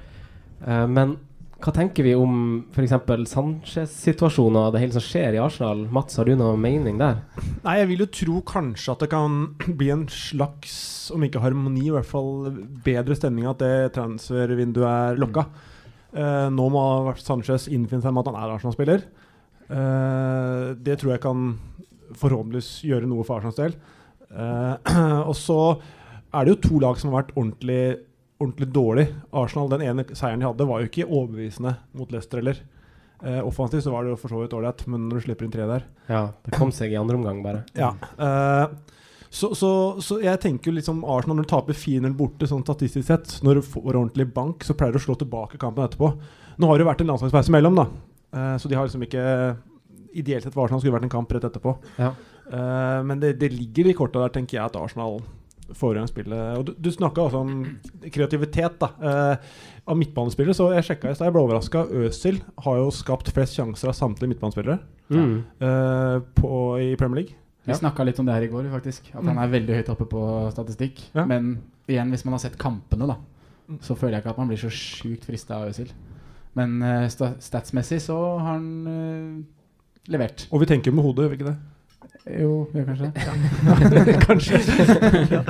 Eh, men hva tenker vi om f.eks. Sanchez-situasjonen og det hele som skjer i Arsenal? Mats, har du noen mening der?
Nei, jeg vil jo tro kanskje at det kan bli en slags, om ikke harmoni, i hvert fall bedre stemning at det transfervinduet er lokka. Eh, nå må Sanchez innfinne seg med at han er Arsenal-spiller. Eh, det tror jeg kan forhåpentligvis gjøre noe for Arsenals del. Eh, og så er det jo to lag som har vært ordentlig, ordentlig dårlig. Arsenal, den ene seieren de hadde, var jo ikke overbevisende mot Leicester heller. Eh, offensivt så var det jo for så vidt ålreit, men når du slipper inn tre der
Ja, det kom seg i andre omgang, bare.
ja. eh, så, så, så jeg tenker jo liksom Arsenal når du taper 4-0 borte, sånn statistisk sett, når du får ordentlig bank, så pleier du å slå tilbake kampen etterpå. Nå har det jo vært en landslagspause imellom, da. Eh, så de har liksom ikke Ideelt sett for Arsenal skulle det vært en kamp rett etterpå.
Ja.
Eh, men det, det ligger i korta der, tenker jeg, at Arsenal Forhåndsspillet. Og du, du snakka også om kreativitet da, eh, av midtbanespillere. Så jeg sjekka i stad, jeg ble overraska. Øsil har jo skapt flest sjanser av samtlige midtbanespillere
Mm.
eh, på, i Premier League.
Vi
Ja.
snakket snakka litt om det her i går, faktisk. At han er veldig høyt oppe på statistikk.
Ja.
Men igjen, hvis man har sett kampene, da,
Mm.
så føler jeg ikke at man blir så sjukt frista av Øzil. Men eh, sta statsmessig så har han eh, levert.
Og vi tenker med hodet, gjør vi ikke det?
Jo, gjør kanskje det.
kanskje.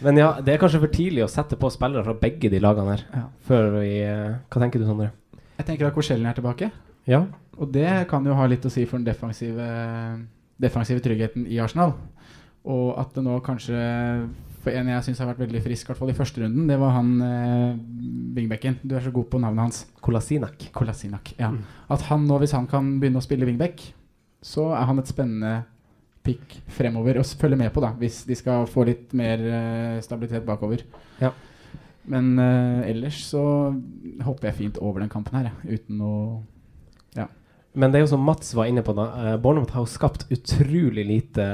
Men ja, det er kanskje for tidlig å sette på spillere fra begge de lagene her.
Ja.
Før vi eh, Hva tenker du, Sondre?
Jeg tenker at Korsellen er tilbake.
Ja.
Og det kan jo ha litt å si for den defensive, defensive tryggheten i Arsenal. Og at det nå kanskje For en jeg syns har vært veldig frisk, i hvert fall i første runden, det var han eh, wingbacken. Du er så god på navnet hans.
Kolasinak.
Kolasinac. Ja. At han nå, hvis han kan begynne å spille wingback, så er han et spennende pick fremover å s- følge med på, da, hvis de skal få litt mer eh, stabilitet bakover.
Ja.
Men eh, ellers så hopper jeg fint over den kampen her, jeg, uten å
Men det er jo som Mats var inne på, da. eh, Bournemouth har jo skapt utrolig lite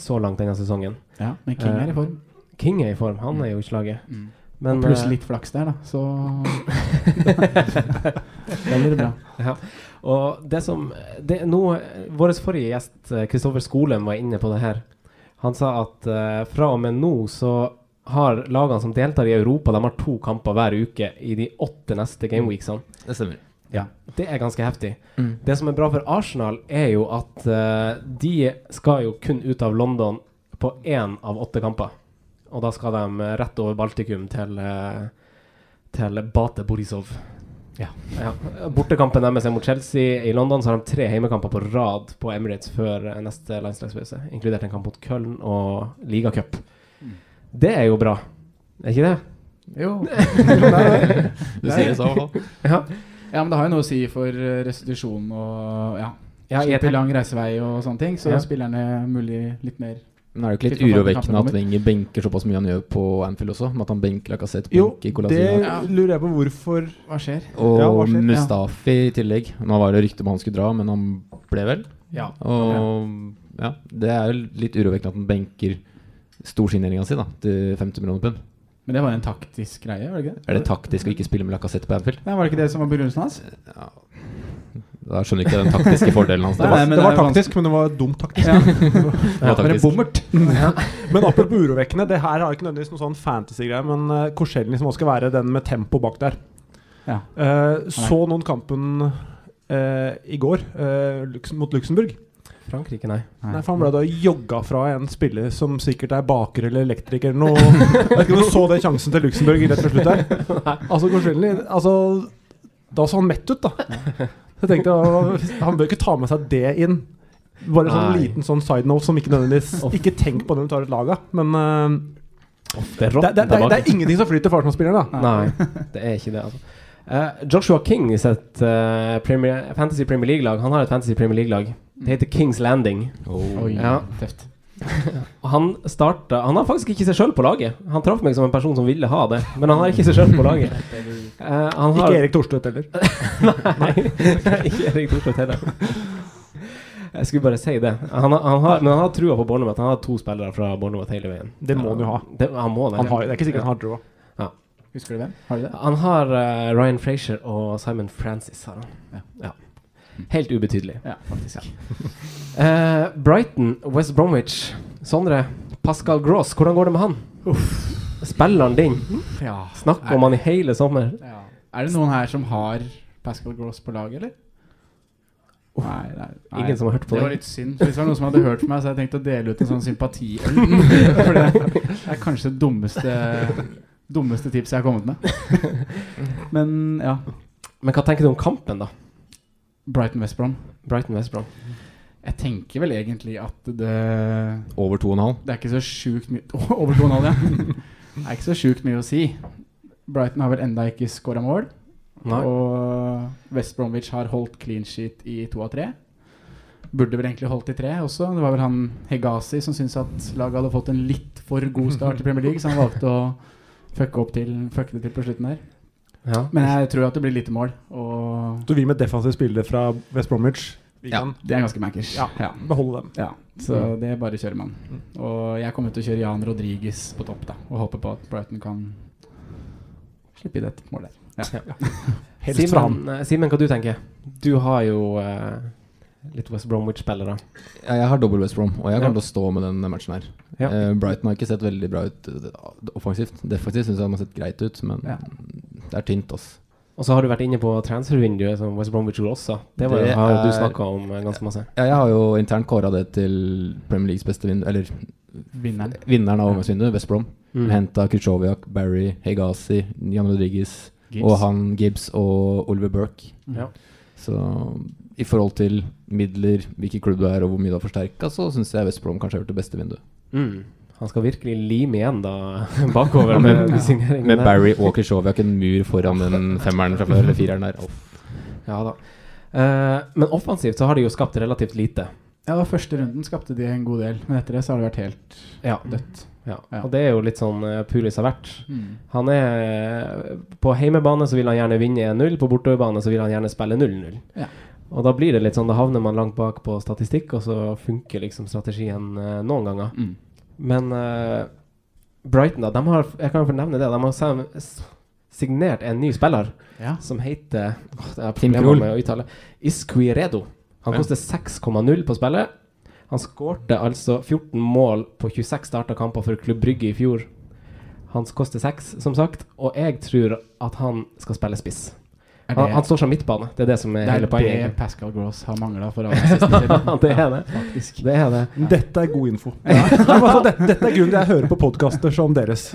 så langt denne sesongen.
Ja, men King er i form.
King er i form, han er jo i slaget.
Mm.
Men,
og pluss
eh,
litt flaks der, da, så Da blir det bra.
eh, Og det som det, nå, eh, Vår forrige gjest, eh, Kristoffer Skolem, var inne på det her. Han sa at eh, fra og med nå så har lagene som deltar i Europa, de har to kamper hver uke i de åtte neste gameweeksene.
Det stemmer.
Ja. Det er ganske heftig.
Mm.
Det som er bra for Arsenal, er jo at eh, de skal jo kun ut av London på én av åtte kamper. Og da skal de eh, rett over Baltikum til, eh, til Bate Borisov. Ja. ja. Bortekampen deres er mot Chelsea. I London så har de tre heimekamper på rad på Emirates før eh, neste landslagspause, inkludert en kamp mot Köln og ligacup. Det er jo bra, er ikke det?
Jo.
Du sier det så, i hvert fall.
Ja.
Ja, men det har jo noe å si for eh, restitusjon og ja.
Ja, jeg
Slipper lang reisevei og sånne ting, så
Ja.
spillerne mulig litt mer
Men er det ikke litt
Fy faen,
urovekkende
kampen
at Wenger benker såpass mye han gjør på Anfield også? Med at han benker Lacassette,
Jo,
benker
det
Colasina
lurer jeg på hvorfor
Hva skjer?
og
Ja, hva skjer?
Mustafi i tillegg. Nå var det rykte om han skulle dra, men han ble vel.
Ja.
Og ja, det er jo litt urovekkende at han benker storsigneringa si da, til 50 millioner pund.
Men det var en taktisk greie, var det ikke det?
Er det taktisk å ikke spille med Lacassette på Anfield?
Nei, var det ikke det som var begrunnelsen hans?
Da skjønner jeg ikke den taktiske fordelen hans.
Det
der.
Nei,
var,
men
det
det
var
er vanskelig.
taktisk, men det var dumt taktisk.
Ja,
Ja,
var en
taktisk.
bommert.
Men apropos urovekkende, det her har ikke nødvendigvis noen sånn fantasy-greie, men uh, Korselny som også skal være den med tempo bak der.
Ja.
Eh, så noen kampen eh, i går eh, Lux mot Luxembourg.
Frankrike, nei.
Nei, for Han ble da jogga fra en spiller som sikkert er baker eller elektriker eller noe. Jeg vet ikke om du så det sjansen til Luxembourg rett før slutt her. Altså, Korselny altså, Da så han mett ut, da. Så jeg tenkte ah, Han bør ikke ta med seg det inn. Bare en sånn
Nei.
liten sånn side note som ikke nødvendigvis
Off.
Ikke tenk på den du tar ut laget, men eh,
Det er
det,
rått
det, det, det
tilbake.
er ingenting som flyter for Arsenal-spilleren, da.
Nei, det er ikke det, altså. Eh, Joshua King i sitt eh, Premier, Fantasy Premier League-lag Han har et Fantasy Premier League-lag.
Mm.
Det heter Kings Landing.
Oi,
Ja.
tøft.
Og han starta Han har faktisk ikke seg sjøl på laget. Han traff meg som en person som ville ha det, men han har ikke seg sjøl på laget. Eh, han har,
Ikke Erik Thorstvedt heller.
Nei, ikke Erik Thorstvedt heller. Jeg skulle bare si det. Han har, han har, men han har trua på Bornermouth. Han har to spillere fra Bornermouth hele veien.
Det må han jo ha.
Det, han må det.
Han har, det er ikke sikkert han har råd.
Husker du hvem? Har du det?
Han har eh, Ryan Frazier og Simon Francis. Har han. Ja. Mm. Helt ubetydelig.
Ja, faktisk.
Eh, Brighton, West Bromwich. Sondre, Pascal Gross, hvordan går det med han? Spiller han din?
Ja.
Snakk om han i hele sommer.
Ja. Er det noen her som har Pascal Gross på laget, eller? Nei, nei, nei.
Ingen som har hørt på
det var
det.
litt synd. for Hvis det var noen som hadde hørt på meg, så hadde jeg tenkt å dele ut en sånn sympatiøl. For det er kanskje det dummeste, dummeste tipset jeg har kommet med. Men ja.
Men hva tenker du om kampen, da?
Brighton West Brom.
Brighton West Brom.
Jeg tenker vel egentlig at det
Over 2,5.
Det er ikke så sjukt mye Over 2,5, ja. Det er ikke så sjukt mye å si. Brighton har vel enda ikke skåra mål.
Nei.
Og West Bromwich har holdt clean sheet i to av tre. Burde vel egentlig holdt i tre også. Det var vel han Hegazi som syntes at laget hadde fått en litt for god start i Premier League, så han valgte å fucke, opp til, fucke det til på slutten der.
Ja.
Men jeg tror at det blir lite mål. Og
Så vi med defensive spillere fra West Bromwich Vi
Ja.
kan
Det er ganske mankers.
Ja.
Ja.
beholde dem.
Ja, så det bare kjører man. Og jeg kommer til å kjøre Jan Rodriguez på topp, da. Og håper på at Brighton kan slippe i det målet. Ja.
Helst fra ham.
Simen, eh, Simen, hva du tenker Du har jo eh, litt West Bromwich-spillere.
Ja, jeg har dobbel West Brom, og jeg
Ja.
kommer til å stå med den matchen her.
Ja.
Eh, Brighton har ikke sett veldig bra ut eh, offensivt. Defensivt syns jeg de har sett greit ut, men
Ja.
det er tynt, ass.
Og så har du vært inne på transfervinduet som West Bromwich gjorde også. Det var jo,
Det
har jo du
er-
snakka om eh, ganske masse.
Ja, jeg har jo internt kåra det til Premier Leagues beste vinner, eller
Vinneren.
vinneren av overgangsvinduet, West Brom.
Mm.
Henta Khrusjtsjoviak, Barry, Hegazi, Jan Rodriguez
Gibbs.
og han Gibbs og Oliver Burke.
Mm. Ja.
Så i forhold til midler, hvilken klubb du er og hvor mye du har forsterka, så syns jeg West Brom kanskje har gjort det beste vinduet.
Mm. Han skal virkelig lime igjen da bakover med
Ja.
signeringen.
Med
der.
Barry og Khrusjtsjoviak en mur foran den femmeren fra før, eller fireren der. Uff.
Ja da. Eh, men offensivt så har de jo skapt relativt lite.
Ja, og første runden skapte de en god del, men etter det så har det vært helt
Ja.
dødt.
ja.
Ja.
Og det er jo litt sånn eh, Pulis har vært.
Mm.
Han er eh, På heimebane så vil han gjerne vinne 1-0, på bortebane så vil han gjerne spille 0-0.
Ja.
Og da blir det litt sånn, da havner man langt bak på statistikk, og så funker liksom strategien eh, noen ganger.
Mm.
Men eh, Brighton, da, de har, jeg kan jo fornevne det, de har sam- s- signert en ny spiller
Ja.
som heter åh, det er
Tim
problemer
Krul.
med å uttale Isquiredo. Han
Ja.
koster 6,0 på spillet. Han skårte altså 14 mål på 26 starta kamper for Klubb Brygge i fjor. Han koster 6, som sagt, og jeg tror at han skal spille spiss.
Er
Han, han
det,
står som midtbane, det er det som er,
det er
hele poenget.
det Pascal Gross har mangla for aller siste
egentlig. det er det.
faktisk.
Det er det.
Dette er god info. Nei, men altså, dette, dette er grunnen til jeg hører på podkaster som deres.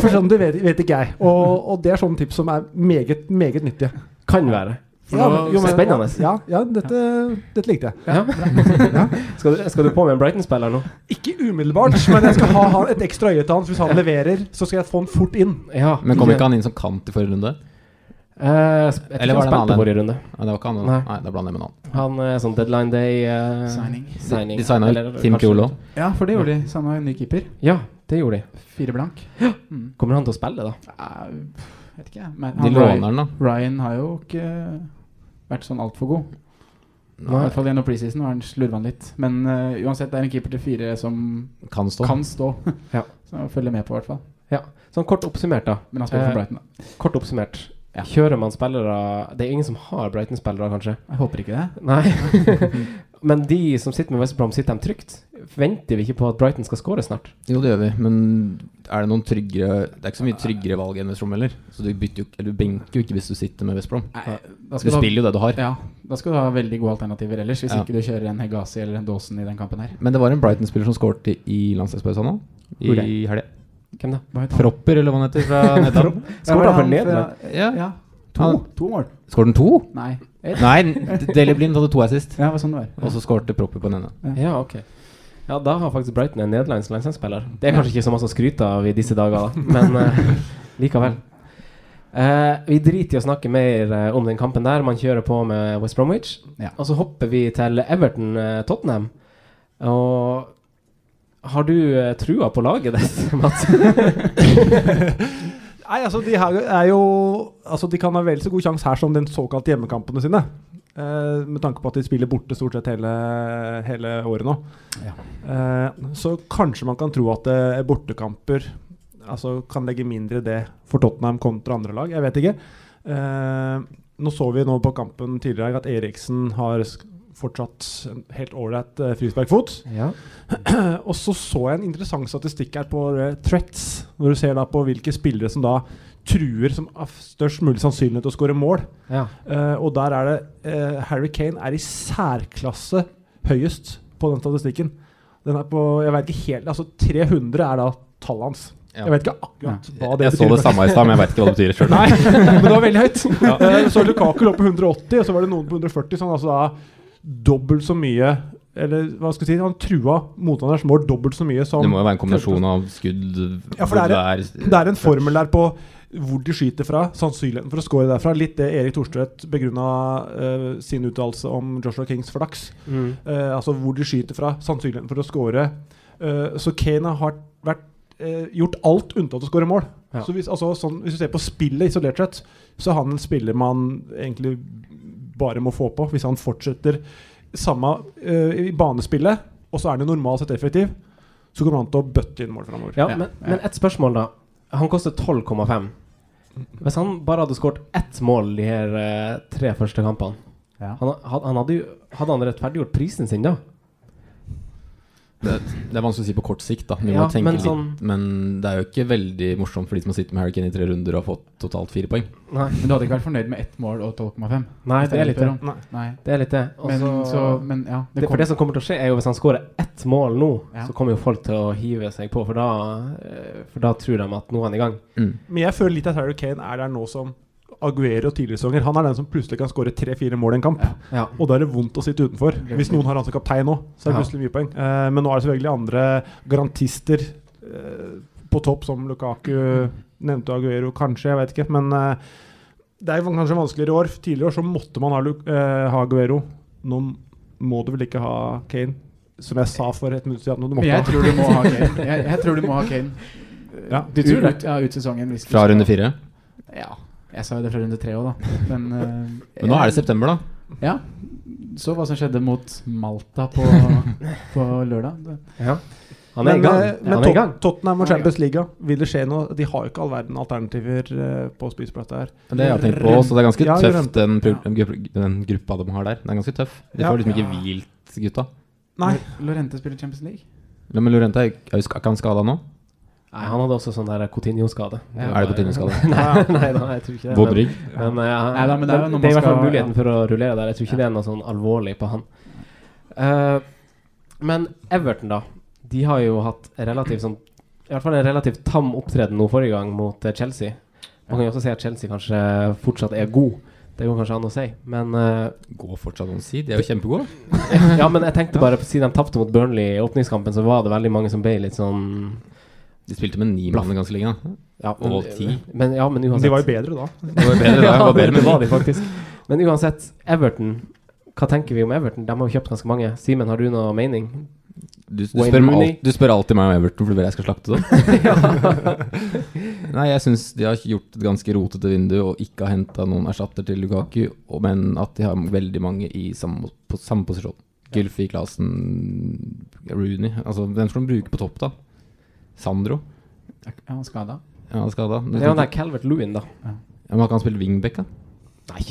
For sånn, det vet, vet ikke jeg. Og, og det er sånne tips som er meget, meget nyttige.
Kan være.
For nå-
jo, men-
Spennende.
Ja, ja dette, dette likte jeg.
Ja. skal, du, skal du på med en Brighton-spiller nå?
Ikke umiddelbart, men jeg skal ha han- et ekstra øye til han. Så hvis han leverer, så skal jeg få han fort inn.
Ja.
Men kom ikke han inn som kant i forrige runde?
Eh, sp- jeg tror han
Eller var det en
spilte
annen?
forrige runde.
Nei, det var ikke han.
Nei.
Nei, Nei da blander jeg med en annen.
Han er sånn deadline day eh,
Signing.
signing.
De signa
Eller
Tim
kanskje-
Kjolo.
Ja, for det gjorde de. Samme ny keeper.
Ja, det gjorde de.
Fire blank. Mm.
Kommer han til å spille, da?
Ja, pff, vet ikke jeg. Men
De
han-
låner den, da.
Ryan har jo ikke vært sånn altfor god. I
Nei.
hvert fall gjennom preseason var han slurva litt. Men eh, uansett, det er en keeper til fire som
Kan stå.
kan stå.
Ja.
Så følge med på, i hvert fall.
Ja. Sånn kort oppsummert, da.
Men han spiller
Eh,
for Brighton, da.
Kort oppsummert. Kjører man spillere Det er ingen som har Brighton-spillere, kanskje?
Jeg håper ikke det.
Nei. Men de som sitter med West Brom, sitter de trygt? Venter vi ikke på at Brighton skal skåre snart?
Jo, det gjør vi, men er det noen tryggere Det er ikke så mye tryggere valg enn West Brom heller. Så du, bytter jo, ikke- eller du benker jo ikke hvis du sitter med West Brom.
Nei, da
Du
skal du,
spiller jo det du har.
ha, ja, da skal du ha veldig gode alternativer ellers, hvis
Ja.
ikke du kjører en Hegazi eller en Dawson i den kampen her.
Men det var en Brighton-spiller som skårte i landslagspausen nå. I
Ok.
helga.
Hvem da?
Hva het han?
Propper, eller hva han heter. Fra Nederland.
Skåret
Ja,
han for
var det
Nederland?
fra-
ja.
Ja. To,
Han-
to mål.
Skåret han to?
Nei. Ett.
Nei, Deli Blind hadde to assist.
Ja, det var sånn det var.
Og så skårte Propper på den ene.
Ja, ok. Ja, da har faktisk Brighton en nederlandsk landslagsspiller. Det er kanskje ikke så masse å skryte av i disse dager, da, men eh, likevel. Eh, vi driter i å snakke mer eh, om den kampen der. Man kjører på med West Bromwich.
Ja.
Og så hopper vi til Everton-Tottenham. og har du eh, trua på laget ditt, Mats?
Nei, altså De her er jo Altså de kan ha vel så god sjanse her som den såkalte hjemmekampene sine. Eh, med tanke på at de spiller borte stort sett hele, hele året nå.
Ja.
Eh, så kanskje man kan tro at eh, bortekamper altså, kan legge mindre i det for Tottenham kontra andre lag. Jeg vet ikke. Eh, nå så vi nå på kampen tidligere i dag at Eriksen har sk- fortsatt en helt ålreit eh, frisparkfot.
ja.
Og så så jeg en interessant statistikk her på eh, threats, når du ser da på hvilke spillere som da truer som har størst mulig sannsynlighet til å skåre mål.
ja.
Eh, og der er det eh, Harry Kane er i særklasse høyest på den statistikken. Den er på jeg vet ikke helt, altså 300 er da tallet hans.
Ja.
Jeg vet ikke akkurat hva det
jeg så det
betyr.
samme i stad, men jeg veit ikke hva det betyr sjøl.
Nei, men det var veldig høyt. Eh, så Lukaku lå på 180, og så var det noen på 140. Så han altså da dobbelt så mye Eller hva skal jeg si, han trua motstanderens mål dobbelt så mye som
Det må jo være en kombinasjon av skudd
Ja, for det er-
hvor du
Det er en formel der på hvor de skyter fra, sannsynligheten for å score derfra. Litt det Erik Thorstvedt begrunna eh, sin uttalelse om Joshua Kings flaks.
Mm.
Eh, altså hvor de skyter fra, sannsynligheten for å score. Eh, så Kane har vært, eh, gjort alt unntatt å skåre mål.
Ja.
Så hvis, altså, sånn, hvis du ser på spillet isolert sett, så er han en spiller man egentlig bare må få på. Hvis han fortsetter samme eh, i banespillet, og så er han jo normalt sett effektiv, så kommer han til å bøtte inn mål framover.
Ja,
Ja,
men,
ja.
men et spørsmål, da. Han koster 12,5. Hvis han bare hadde skåret ett mål de her eh, tre første kampene
Ja.
han, had- han hadde, jo, hadde han rettferdiggjort prisen sin da?
Det, det er vanskelig å si på kort sikt, da. Vi må
Ja,
tenke
men
litt.
sånn-
Men det er jo ikke veldig morsomt for de som har sittet med Harry Kane i tre runder og har fått totalt fire poeng.
Nei,
Men du hadde ikke vært fornøyd med ett mål og 12,5?
Nei det er litt det.
Istedenfor,
Nei.
Nei.
Det er litt det. Og
Men,
så-
så, men ja,
det,
det
for
kom,
det som kommer til å skje, er jo hvis han skårer ett mål nå,
Ja.
så kommer jo folk til å hive seg på, for da, eh, for da tror de at nå er han i gang.
Men jeg føler litt at Harry Kane er der nå som Aguero tidligere sesonger. Han er den som plutselig kan skåre tre-fire mål i en kamp.
Ja.
Ja.
Og da er det vondt å sitte utenfor. Hvis noen har han som kaptein nå, så er det
Ja.
plutselig mye poeng. Eh, men nå er det selvfølgelig andre garantister eh, på topp, som Lukaku nevnte Aguero, kanskje, jeg vet ikke. Men eh, det er kanskje vanskeligere i år. Tidligere år så måtte man ha, Lu eh, ha Aguero. Nå må du vel ikke ha Kane, som jeg sa for et minutt siden. at Du
Men
måtte
jeg
ha.
tror du må ha Kane. Jeg, jeg tror du må ha Kane.
Ja,
du
tror det?
Ut, ja, ut sesongen. Hvis du
Fra
skal-
runde fire.
Ja. Jeg sa jo det fra runde tre òg, da. Men, eh,
Men nå er det
jeg-
september, da.
Ja. Så hva som skjedde mot Malta på, på lørdag. Det-
Ja. Han er
Men,
i gang.
eh, men
han er i gang.
Tot Tottenham og
Han er i
Champions League, vil det skje noe? De har jo ikke all verden alternativer eh, på spiseplata her.
Men Det har jeg tenkt på, så det er ganske
Ja,
tøft, den,
Ja.
pul- den grupp- den gruppa de har der. Den er ganske tøff. De
Ja.
får
Ja.
liksom ikke hvilt gutta.
Nei.
Lorente spiller Champions League.
Ja, Men Lorente, er er jo sk- er ikke han skada nå?
Nei, han hadde også sånn der Coutinho-skade.
Er det på tide med skade?
Ja.
Nei da, jeg tror ikke det.
Vond
men-
rygg.
Men, eh,
Nei da, men det er
det er
jo når
i
man
hvert fall
skal-
muligheten
ja.
for å rullere der. Jeg tror ikke
Ja.
det er noe sånn alvorlig på han. Eh, men Everton, da. De har jo hatt relativt sånn I hvert fall en relativt tam opptreden nå forrige gang mot eh, Chelsea. Man kan jo også si at Chelsea kanskje fortsatt er god. Det går kanskje an å si, men eh,
Går fortsatt an å si. De er jo kjempegode.
Ja, men jeg tenkte bare Siden de tapte mot Burnley i åpningskampen, så var det veldig mange som ble litt sånn
De spilte med ni mann ganske lenge. da.
ja,
Og ti.
Men, ja, men uansett
De var jo bedre da.
Det var bedre da.
ja,
Det var bedre
det
med
var
ni.
de faktisk. Men uansett, Everton Hva tenker vi om Everton? De har jo kjøpt ganske mange. Simen, har du noe mening?
Du, du,
Wayne
spør meg
Rooney.
alt, du spør alltid meg om Everton, for du vil jeg skal slakte dem. Nei, jeg syns de har gjort et ganske rotete vindu og ikke har henta noen erstatter til Lukaku, og, men at de har veldig mange i samme, på samme posisjon. Gylfi, Klasen, Rooney Altså, hvem skal de bruke på topp, da? Sandro?
Ja, han skada.
Ja, han er skada.
Det er jo den der Calvert Lewin, da.
Ja, men har ikke han spilt wingback, da?
Nei.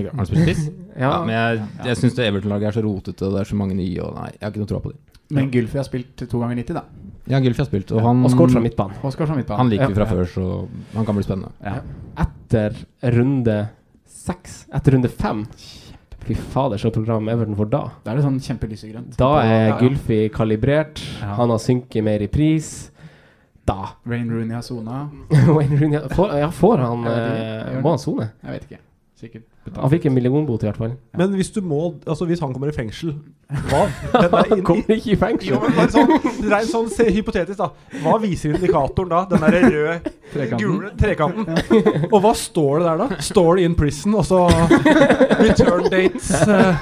Har han spilt spiss?
Ja,
Ja, men jeg, jeg syns det Everton-laget er så rotete, og det er så mange nye, og nei, jeg har ikke noe tro på dem.
Men Gylfi har spilt to ganger 90, da.
Ja, Gylfi har spilt, og han,
Og skåret fra midtbanen.
Oskar som midtbane.
han liker vi fra
Ja.
før, så han kan bli spennende.
Ja.
Etter runde seks Etter runde fem Fy fader, så program Everton får da.
Da er det sånn kjempelysegrønt.
Da er
Ja, ja.
Gylfi kalibrert.
Ja.
Han har synket mer i pris. Da
Rain Rooney har sona.
Wayne Rooney får, Ja, får han
Jeg vet ikke.
eh, Må han sone?
Jeg vet ikke. Sikkert betalt.
Han fikk en millionbot, i hvert fall.
Men hvis du må Altså hvis han kommer i fengsel Hva? Den er
Han
inn-
kommer ikke i
Jo,
fengsel.
men bare sånn, rent sånn se, hypotetisk, da. Hva viser indikatoren da? Den der røde,
Trekanten.
gule trekanten. Og hva står det der, da? Står det 'in prison', og så Return dates. eh.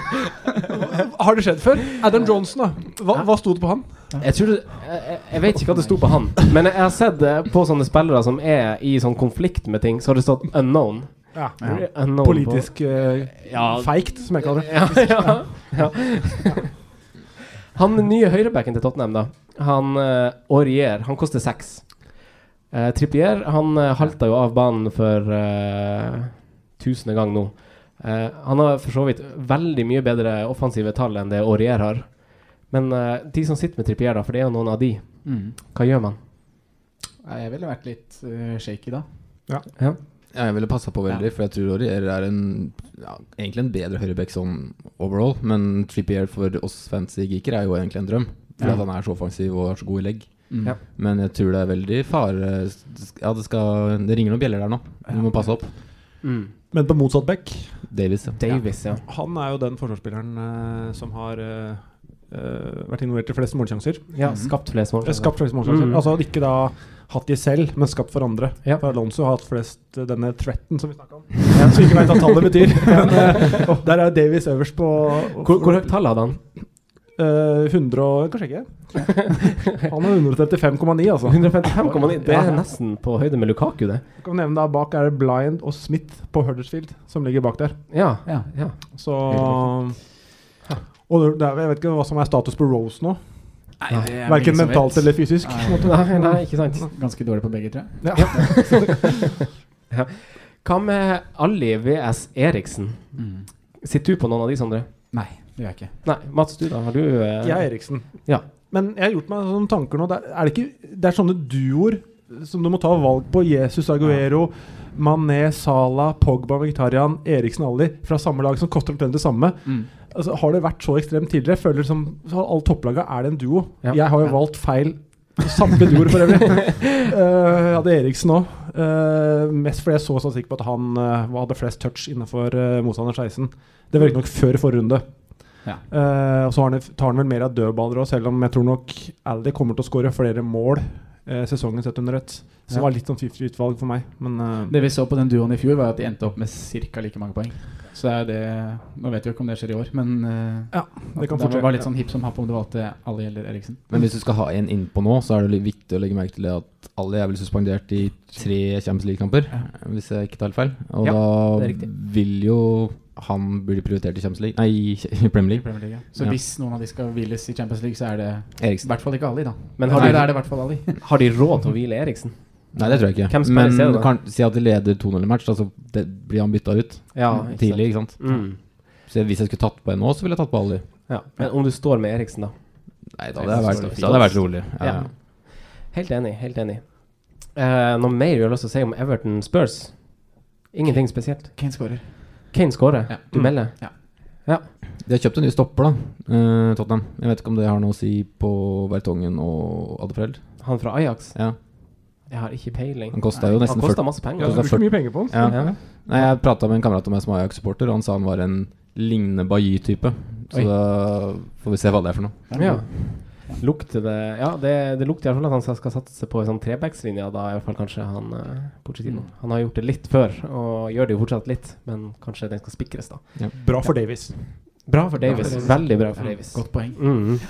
Har det skjedd før? Adam Johnson, da. Hva, hva sto det på han?
Jeg, tror, det- jeg, jeg- jeg vet ikke hva det sto på han, men jeg har sett eh, på sånne spillere som er i sånn konflikt med ting, så har det stått 'unknown'.
Ja.
unknown
Politisk eh,
På, ja,
feigt, som jeg kaller det.
ja, ja, ja. Han nye høyrebacken til Tottenham, da, han uh, Aurier, han koster seks. Eh, Trippier han uh, halta jo av banen for eh, tusende gang nå. Eh, han har for så vidt veldig mye bedre offensive tall enn det Aurier har. Men eh, de som sitter med Trippier, da, for det er jo noen av de,
Mm.
hva gjør man?
Nei, Jeg ville vært litt eh, shaky da.
Ja, jeg ville passa på veldig, for jeg tror Aurier er en ja, egentlig en bedre høyreback sånn overall, men Trippier for oss fancy geeker er jo egentlig en drøm. Fordi
Ja.
at han er så offensiv og har så god i legg.
Mm.
Ja.
Men jeg tror det er veldig fare Ja, det skal Det ringer noen bjeller der nå. Du må passe opp.
Men på motsatt back
Davies, ja.
Davis, Mm. ja.
Han er jo den forsvarsspilleren eh, som har eh, eh, vært involvert i flest målsjanser.
ja. Skapt flest mål.
Eh, Skapt flest målsjanser.
Mm.
Altså ikke da hatt de selv, men skapt for andre.
Ja.
For Alonso har hatt flest eh, denne threaten som vi snakka om. Så vi ikke veit hva tallet betyr. Men eh, der er Davies øverst på
Hvor, hvor høyt tall hadde han?
Eh, 100 og Kanskje ikke. Han er 135,9, altså.
155,9. Det er
Ja.
nesten på høyde med Lukaku, det.
Jeg kan nevne da Bak er det Blind og Smith på Huddersfield, som ligger bak der.
Ja.
Ja.
ja.
Så
Helt
Og det er, jeg vet ikke hva som er status på Rose nå.
Nei, det er
Verken
ingen som
mentalt
vet.
eller fysisk.
Nei,
Nei, nei, ikke sant.
Ganske dårlig på begge, tror jeg.
Ja.
Hva med Ali VS Eriksen? Sitter du på noen av de, Sondre?
Nei, det gjør jeg ikke.
Nei, Mats, du da? Har du eh,
Jeg er Eriksen.
Ja.
Men jeg har gjort meg sånne tanker nå. Det er, er det, ikke, det er sånne duoer som du må ta valg på. Jesus Aguero, Mané, Salah, Pogba, Vegetarian, Eriksen, Ali. Fra samme lag som koster omtrent det samme. Altså, har det vært så ekstremt tidligere? Føler det som så Alle topplagene er det en duo.
Ja.
Jeg har jo
Ja.
valgt feil. Samtlige duoer, for øvrig. Eh, Jeg hadde Eriksen òg. mest fordi jeg så sånn sikker på at han eh, hadde flest touch innenfor uh, motstander 16. Det var riktignok før forrige runde.
Ja.
Eh, og så har han, tar han vel mer av dødballer òg, selv om jeg tror nok Aldi kommer til å skåre flere mål eh, sesongen sett under ett. Som
Ja.
var litt sånn 50-utvalg for meg. Men eh,
Det vi så på den duoen i fjor, var at de endte opp med ca. like mange poeng. Så er det Nå vet vi jo ikke om det skjer i år, men eh,
ja, det kan
at det
fortsette.
var litt sånn hipp som happ om det valgte Ali eller Eriksen.
Men hvis du skal ha en innpå nå, så er det litt viktig å legge merke til det at alle er vel suspendert i tre Champions League-kamper, hvis jeg ikke tar helt feil. Og
Ja, det er
da
riktig.
vil jo han bli prioritert i Champions League Nei, i
i
Premier League.
Premier League. Så
Ja.
hvis noen av de skal hviles i Champions League, så er det i
Eriksen.
hvert fall ikke Ali, da.
Men har
Nei, da
de,
er det i hvert fall Ali.
har de råd til å hvile Eriksen?
Nei, det tror jeg ikke.
Hvem spiller
Men
i stedet da?
kan, si at de leder 2-0-match, da så det- blir han bytta ut
Ja, ikke sant.
tidlig. ikke sant?
Mm.
Så Hvis jeg skulle tatt på en nå, så ville jeg tatt på Ali.
Ja. Men om du står med Eriksen, da?
Nei, da
Jeg
hadde
synes det var
jeg vært,
fint.
da hadde jeg vært rolig. Ja,
Ja.
ja.
Helt enig. helt enig Eh, Noe mer du har lyst til å si om Everton Spurs? Ingenting spesielt.
Kane skårer.
Kane skårer.
Ja.
Du melder.
De har kjøpt en ny stopper, da, eh, Tottenham. Jeg vet ikke om det har noe å si på Vertongen og Adefreld.
Han fra Ajax?
Ja.
Jeg har ikke peiling.
Han kosta jo nesten
Han
40
kosta masse
Ja,
penger.
du
det er
brukte mye penger på den.
Ja.
Ja.
Nei, jeg prata med en kamerat av meg som er Ajax-supporter, og han sa han var en lignende Bailly-type. Så
Oi.
da får vi se hva det er for noe.
Ja. Lukter det Ja, det, det lukter i hvert fall at han skal satse på en sånn trebackslinje, da i hvert fall kanskje han eh, Pochettino. Han har gjort det litt før, og gjør det jo fortsatt litt, men kanskje den skal spikres, da.
Bra for Davies.
Bra for Davies.
Davies.
Veldig bra for Davies.
Godt poeng.
Mm.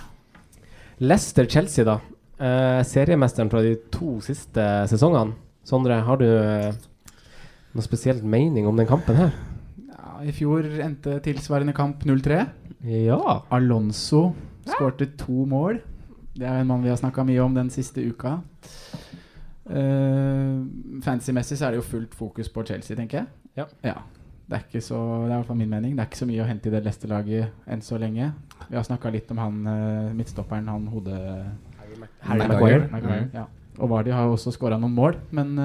Leicester-Chelsea, da. Eh, seriemesteren fra de to siste sesongene. Sondre, har du eh, noe spesielt mening om den kampen her?
Ja, I fjor endte tilsvarende kamp 0-3.
Ja.
Alonso skårte to mål. Det er jo en mann vi har snakka mye om den siste uka. Uh, Fancy-messig så er det jo fullt fokus på Chelsea, tenker jeg.
Ja.
Det er ikke så, det er i hvert fall min mening. Det er ikke så mye å hente i det Leicester-laget enn så lenge. Vi har snakka litt om han eh, midtstopperen, han hode...
Harry
Maguire.
Maguire, ja. Og Vardy har jo også skåra noen mål, men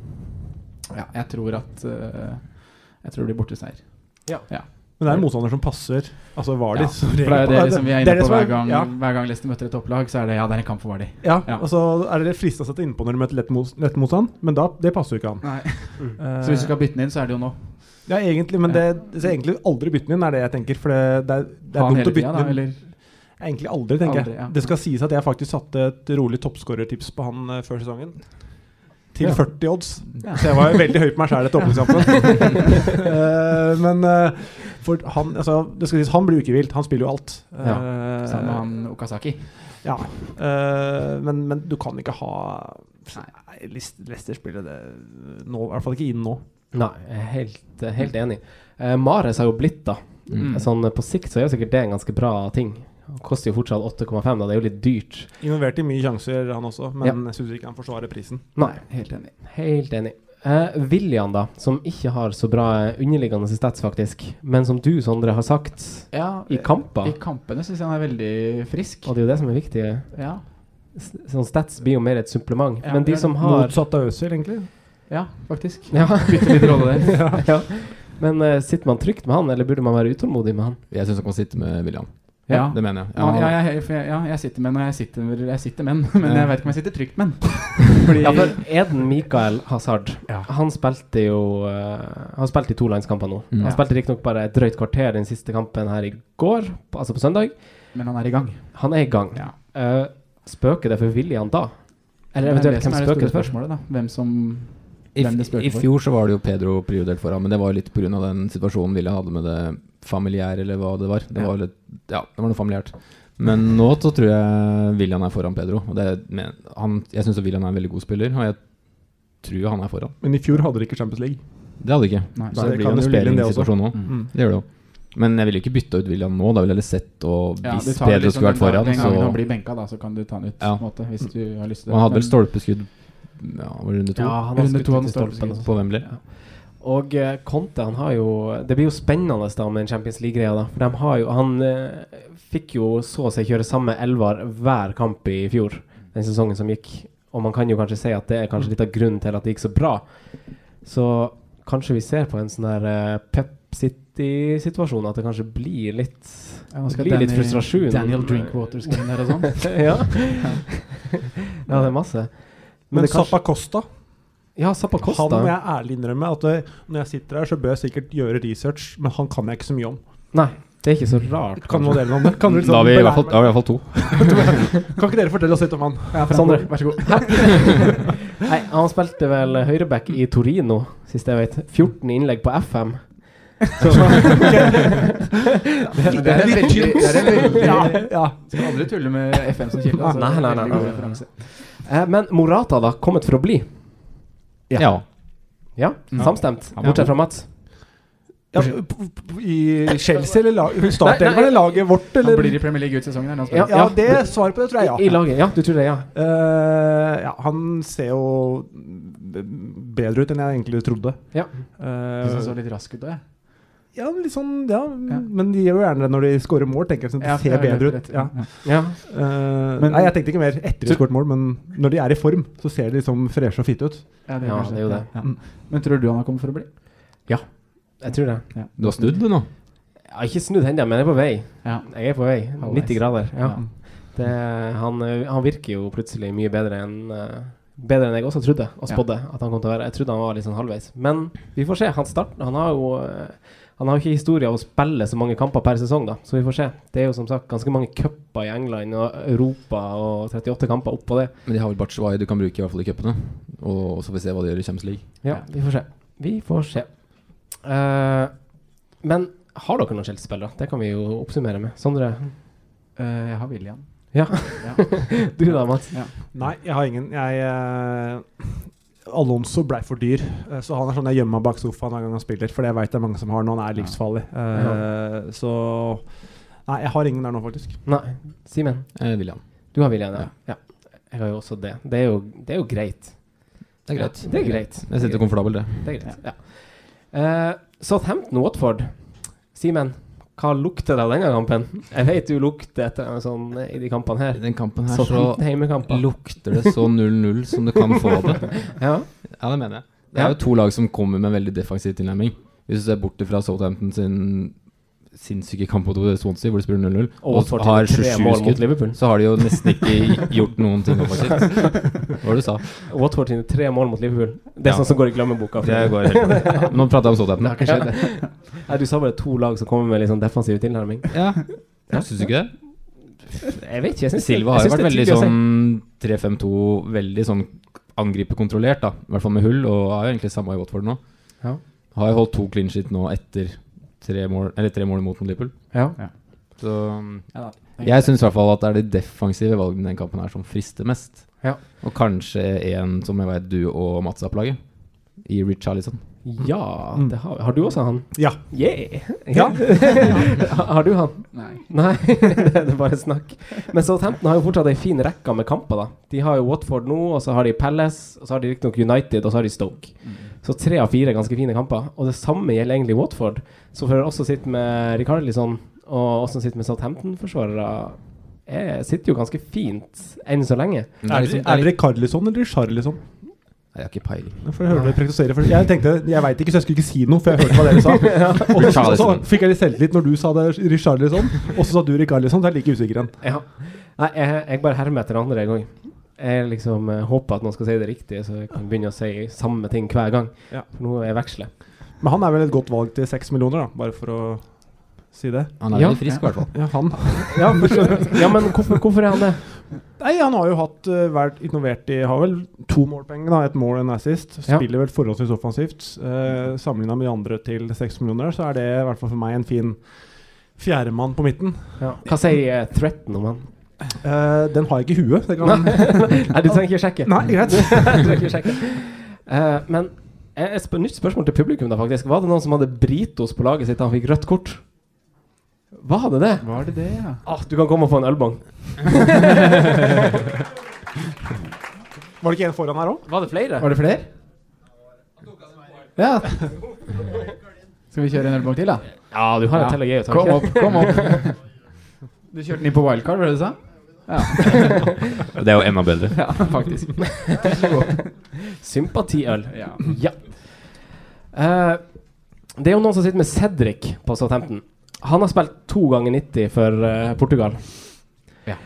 eh, ja, jeg tror at eh, Jeg tror det blir borteseier.
Men det er en motstander som passer. Altså Vardy.
Ja,
som
For det
regel-
er jo det liksom, vi er
det
inne på
som er-
hver gang,
Ja,
hver gang Leicester møter et topplag, så er det ja, det er en kamp for Vardy.
ja.
Ja.
og så er det frista å sette innpå når du møter lett, mos- lett motstand, men da, det passer jo ikke han. Eh,
Så hvis du skal bytte den inn, så er det jo nå.
Ja, egentlig, men det, så egentlig aldri bytte den inn, er det jeg tenker. For det, det er, det
Ha han
er dumt
hele
å
tida,
bytte
da.
den inn.
Eller
Egentlig aldri, tenker
Aldri,
jeg.
ja.
Det skal sies at jeg faktisk satte et rolig toppskårertips på han eh, før sesongen. Til
Ja.
40 odds. Så jeg var jo veldig høy på meg sjæl etter åpningskampen. Eh, men eh, for han, altså, det skal sies, han blir jo ikke vilt. Han spiller jo alt. Eh,
sammen med han Okazaki.
ja. Eh, men, men du kan ikke ha
Nei.
Nei, Leicester spiller det nå, i hvert fall ikke inn nå.
Nei, jeg er helt, helt enig. Eh, Mares har jo blitt, da.
Mm.
Sånn, eh, på sikt så er jo sikkert det en ganske bra ting. Han koster jo fortsatt 8,5, da. Det er jo litt dyrt.
Involvert i mye sjanser, han også, men
Ja.
jeg syns ikke han forsvarer prisen.
Nei,
Helt enig.
helt enig. Eh, William, da, som ikke har så bra eh, underliggende stats, faktisk, men som du, Sondre, har sagt
Ja,
i kamper,
I kampene syns jeg han er veldig frisk.
og det er jo det som er viktig eh,
Ja.
S- Sånn stats blir jo mer et supplement.
Ja,
men de
det er
som har
Motsatt av Øzil, egentlig.
ja, faktisk.
ja,
Bytte litt rolle der.
ja. Men eh, sitter man trygt med han, eller burde man være utålmodig med han?
Jeg syns han kan sitte med William.
Ja.
Det mener jeg.
Ja,
Ja,
ja, jeg, for jeg, ja, jeg sitter med når jeg sitter, jeg sitter med den, men jeg vet ikke om jeg sitter trygt med den. Fordi
Ja, for Eden Mikael Hazard
Ja.
Han spilte jo eh, Han spilte i to landskamper nå.
Mm.
Han spilte riktignok bare et drøyt kvarter den siste kampen her i går, på- altså på søndag.
Men han er i gang.
Han er i gang.
Ja.
Eh, spøker det for William da? Eller
Det er
eventuelt
det som
hvem
er det
spøker
store
det for?
spørsmålet, da. Hvem som
I,
Hvem det
f-
spøker
I
for.
fjor så var det jo Pedro prioritert foran, men det var jo litt pga. den situasjonen William hadde med det familiære, eller hva det var. Det
Ja.
var litt, ja, det var noe familiært. Men nå så tror jeg William er foran Pedro. Og det, men han, jeg syns William er en veldig god spiller, og jeg tror han er foran.
Men i fjor hadde de ikke Champions League.
Det hadde ikke.
Nei.
Så
Nei,
det
det
blir
kan
jo en
jo spille inn det også.
rulleringssituasjon nå.
Mm.
Det gjør det jo. Men jeg ville jo ikke bytta ut William nå. Da ville jeg heller sett og
Ja, du
hvis
tar
Pedro
liksom
skulle
den da-
vært foran.
Den gangen han
Så
blir benka, da, så kan du ta han ut.
Ja.
på en måte, hvis du har lyst til det.
han hadde vel
Men-
stolpeskudd ja, var det runde to?
Ja, han har
Runde
skutt
to
ut
av
i
den
stolpen.
stolpen.
På Wembley.
Og eh, Conte han har jo Det blir jo spennende da med den Champions League-greia. da For de har jo, Han eh, fikk jo så å si kjøre samme elver hver kamp i fjor, den sesongen som gikk. Og man kan jo kanskje si at det er kanskje litt av grunnen til at det gikk så bra. Så kanskje vi ser på en sånn der eh, Pep City-situasjon at det kanskje blir litt
Ja, nå skal
Det blir litt
Danny-
frustrasjon.
Daniel Drinkwater skal inn der og sånn.
Ja. ja, det er masse. Men,
Men
det kanskje,
Zappa Costa
ja, Zappa
Han må
Costa.
jeg ærlig innrømme at eh, når jeg sitter her, så bør jeg sikkert gjøre research, men han kan jeg ikke så mye om.
Nei, det er ikke så rart.
Kan noen dele noe om det? Kan,
Da
dere
har
sånn
vi i hvert
belære
fall, da har vi i hvert fall to.
meg? kan ikke dere fortelle oss litt om han?
Ja, Franco,
Sondre.
vær så god.
Nei, han spilte vel høyreback i Torino, sist jeg vet. 14 innlegg på FM. Så,
Det er veldig, det er veldig
Ja, ja.
Skal aldri tulle med FM som kilde.
Ah,
Altså,
Nei, nei, nei,
Veldig god
nei.
referanse.
eh, men Morata, da. Kommet for å bli.
Ja.
Ja.
Ja, samstemt.
Ja.
Bortsett fra Mats.
Ja, p- p- I Chelsea eller lag, startelveren eller laget vårt,
Han
eller?
blir i Premier League ut sesongen. her, han
Ja.
spiller.
Ja, det svaret på det tror jeg
I
ja.
laget. Ja, du tror det, ja.
Eh, ja. Han ser jo bedre ut enn jeg egentlig trodde.
Ja.
Eh,
Jeg synes han så litt rask ut da, jeg.
ja, litt sånn, ja. Men de gjør jo gjerne det når de scorer mål, tenker jeg. Sånn, at
Ja,
det ser
jeg er
bedre
rett-
ut. Ja.
ja.
Eh,
Men-
nei, jeg tenkte ikke mer etter de har skåret mål, men når de er i form, så ser de liksom freshe og fitte ut.
Ja,
Ja,
kanskje
det er jo det.
Ja. Mm. Men tror du han har kommet for å bli?
Jeg tror det.
Du har snudd, du nå.
Jeg har ikke snudd hendene, men jeg er på vei.
Ja.
Jeg er på vei.
Halvveis.
90 grader. Ja.
Ja.
Det, han, eh, han virker jo plutselig mye bedre enn eh, Bedre enn jeg også trodde og
Ja.
spådde at han kom til å være. Jeg trodde han var litt sånn halvveis. Men vi får se. Han start, han har jo eh, Han har jo ikke historie av å spille så mange kamper per sesong, da. Så vi får se. Det er jo som sagt ganske mange cuper i England og Europa og 38 kamper oppå det.
Men de har vel Batshuayi du kan bruke i hvert fall i cupene. Og så får vi se hva de gjør i Champions League.
Ja, vi får se. Vi får se. Eh, men har dere noen Chelsea-spillere? Det kan vi jo oppsummere med. Sondre,
Eh, jeg har William.
du da, Mats?
Nei, jeg har ingen. Jeg eh, Alonso blei for dyr, eh, så han er sånn jeg gjemmer meg bak sofaen hver gang han spiller. For det veit jeg mange som har når han er livsfarlig. Eh, Så Nei, jeg har ingen der nå, faktisk.
Nei. Simen?
Eh, William.
Du har William, ja. ja. Jeg har jo også det. Det er jo, det er jo greit.
Det er greit.
Ja, det er greit.
Jeg sitter komfortabel, det.
Det er greit, ja. Eh, Southampton Watford. Simen, hva lukter det av denne kampen? Jeg vet du lukter etter en sånn eh, i de kampene
I
her.
den kampen her så
Southampton hjemmekamper.
lukter det så 0-0 som du kan få det.
Ja.
Ja, det mener jeg. Det er jo to lag som kommer med en veldig defensiv tilnærming. Hvis du ser bort fra Southampton sin sinnssyke kamp mot Swansea, hvor de spiller 0-0,
Og
og
Watford
har
tre
27
mål mot
skudd,
Liverpool.
så har de jo nesten ikke gjort noen ting offensivt. Hva var det du sa?
Watford sine tre mål mot Liverpool. Det er
Ja.
sånn som går i glemmeboka.
Det går helt Nå prater jeg om Southampton.
har ikke skjedd. Nei, du sa bare to lag som kommer med litt sånn defensiv tilnærming.
Ja. Syns du ikke det?
Jeg vet ikke. jeg synes det-
Silva har
jeg
jo
synes det
vært
er
veldig
tidlig å si.
sånn 3-5-2, veldig sånn angriperkontrollert, da. I hvert fall med hull, og er jo egentlig samme i Watford nå.
Ja.
Har jo holdt to clean shit nå etter tre mål, eller tre mål mot Liverpool.
Ja.
Så
Ja, da.
jeg syns i hvert fall at det er de defensive valgene i den kampen her som frister mest.
Ja.
Og kanskje en som jeg vet du og Mats har på laget, i Rich Charlison.
ja, det har vi. Har du også han?
Mm. Ja.
Yeah!
Ja.
Ha- har du han?
Nei.
Nei, det er bare snakk. Men Southampton har jo fortsatt ei en fin rekke med kamper. da De har jo Watford nå, og så har de Palace, og så har de riktignok United, og så har de Stoke.
Mm.
Så tre av fire ganske fine kamper. Og det samme gjelder egentlig Watford. Så for å også sitte med Rikarlison, og også sitte med Southampton-forsvarere, eh, sitter jo ganske fint enn så lenge.
Men
Er
liksom-
det, er det Carlisson eller Charlison?
Nei, Jeg har ikke peiling.
Jeg får høre dere praktisere. For jeg tenkte, jeg veit ikke, så jeg skulle ikke si noe, for jeg hørte hva dere sa. Og så, så, så
Richarlison.
fikk jeg litt selvtillit når du sa det, Richarlison, og så sa du Ricarlison. Så jeg er like usikker igjen.
Ja. Nei, jeg, jeg bare hermer etter andre en gang. Jeg liksom eh, håper at noen skal si det riktige, så jeg kan begynne å si samme ting hver gang.
Ja.
For nå er jeg veksler.
Men han er vel et godt valg til seks millioner, da, bare for å si det.
Han er
Ja.
veldig frisk, i hvert fall.
Ja, han
Ja, ja, men hvorfor, hvorfor er han det?
Nei, han har jo hatt, eh, vært involvert i Har vel to målpenger, da. Et mål og en assist.
Ja.
Spiller vel forholdsvis offensivt. Uh, Sammenligna med de andre til seks millioner, så er det i hvert fall for meg en fin fjerdemann på midten.
Ja. Hva sier eh, threaten om han?
Eh, den har jeg ikke i huet. Det kan,
Nei, Nei, du trenger ikke sjekke.
nei, greit.
Du trenger ikke sjekke. Eh, men eh, et sp nytt spørsmål til publikum, da faktisk. Var det noen som hadde Britos på laget sitt da han fikk rødt kort? Var det det?
Var det det, ja?
Ah, du kan komme og få en ølbong.
Var det ikke en foran her òg?
Var det flere?
Var det flere? Ja. Skal vi kjøre en ølbong til, da?
Ja, du har
Ja.
en til å gi ut. har
Kom
du ikke?
opp, kom opp. Du kjørte den inn på wildcard, var det det du sa?
Det er jo enda bedre.
Ja, faktisk.
Sympatiøl.
Ja.
Ja. Eh, det er jo noen som sitter med Cedric på Southampton. Han har spilt to ganger 90 for eh, Portugal.
Ja.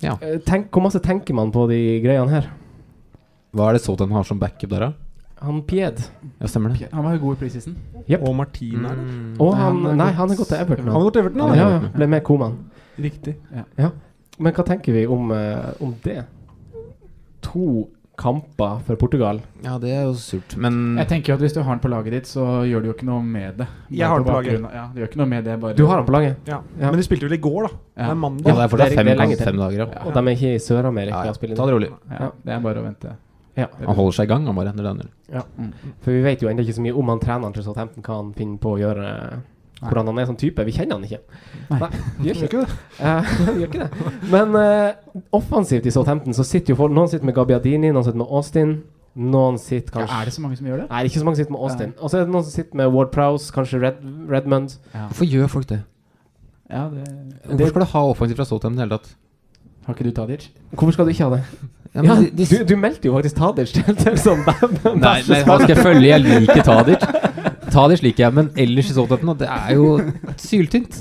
Ja.
Eh, tenk, hvor masse tenker man på de greiene her?
Hva er det Southampton har som backup der, da?
Han Pied
Ja, stemmer det.
Han var jo god i preseason.
Jep.
Og Martin er der.
Og
Nei,
han,
han er
Nei,
gått-
han er gått til Everton.
Han har gått til Everton,
Ja,
han.
ja, ja. Ble med Koman.
Riktig.
Men hva tenker vi om, eh, om det? To kamper for Portugal.
Ja, det er jo surt, men
Jeg tenker jo at Hvis du har den på laget ditt, så gjør du jo ikke noe med det. Bare
Jeg har den på
bakgrunn av- Ja, du gjør ikke noe med det, bare
Du har han på laget,
Ja.
Ja.
Men de spilte vel i går,
Ja.
da. Det er
ja,
mandag.
det er
det
fortsatt
er-
fem,
det er lenge til.
fem dager, ja.
Ja.
og de er ikke i Sør-Amerika.
Ja, ja.
og spiller
Ta det rolig.
ja, Det er bare å vente.
Ja.
Han holder seg i gang, han bare. Når det er
Mm.
For vi vet jo ennå ikke så mye om han treneren til Southampton, hva han finner på å gjøre. Hvordan han er som type. Vi kjenner han ikke.
Nei.
vi gjør
Gjør
ikke det.
ikke det?
Eh, vi gjør ikke det. Men eh, offensivt i Southampton så sitter jo folk Noen sitter med Gabbiadini, noen sitter med Austin. Noen sitter
Ja,
kanskje
er det så mange som gjør det?
Nei, det er ikke så mange som sitter med Austin. Og så er det noen som sitter med Ward Prowse, kanskje Red, Redmond.
Hvorfor gjør folk det?
Ja, det
Hvorfor skal du ha offensiv fra Southampton i det hele tatt?
Har ikke du Tadic?
Hvorfor skal du ikke ha det?
Ja,
Ja,
men de,
du,
de,
du meldte jo faktisk Tadic til til som band.
nei, nei, han skal jeg følge. Jeg liker Tadic. Tadic liker jeg, men ellers i Southampton, og det er jo syltynt.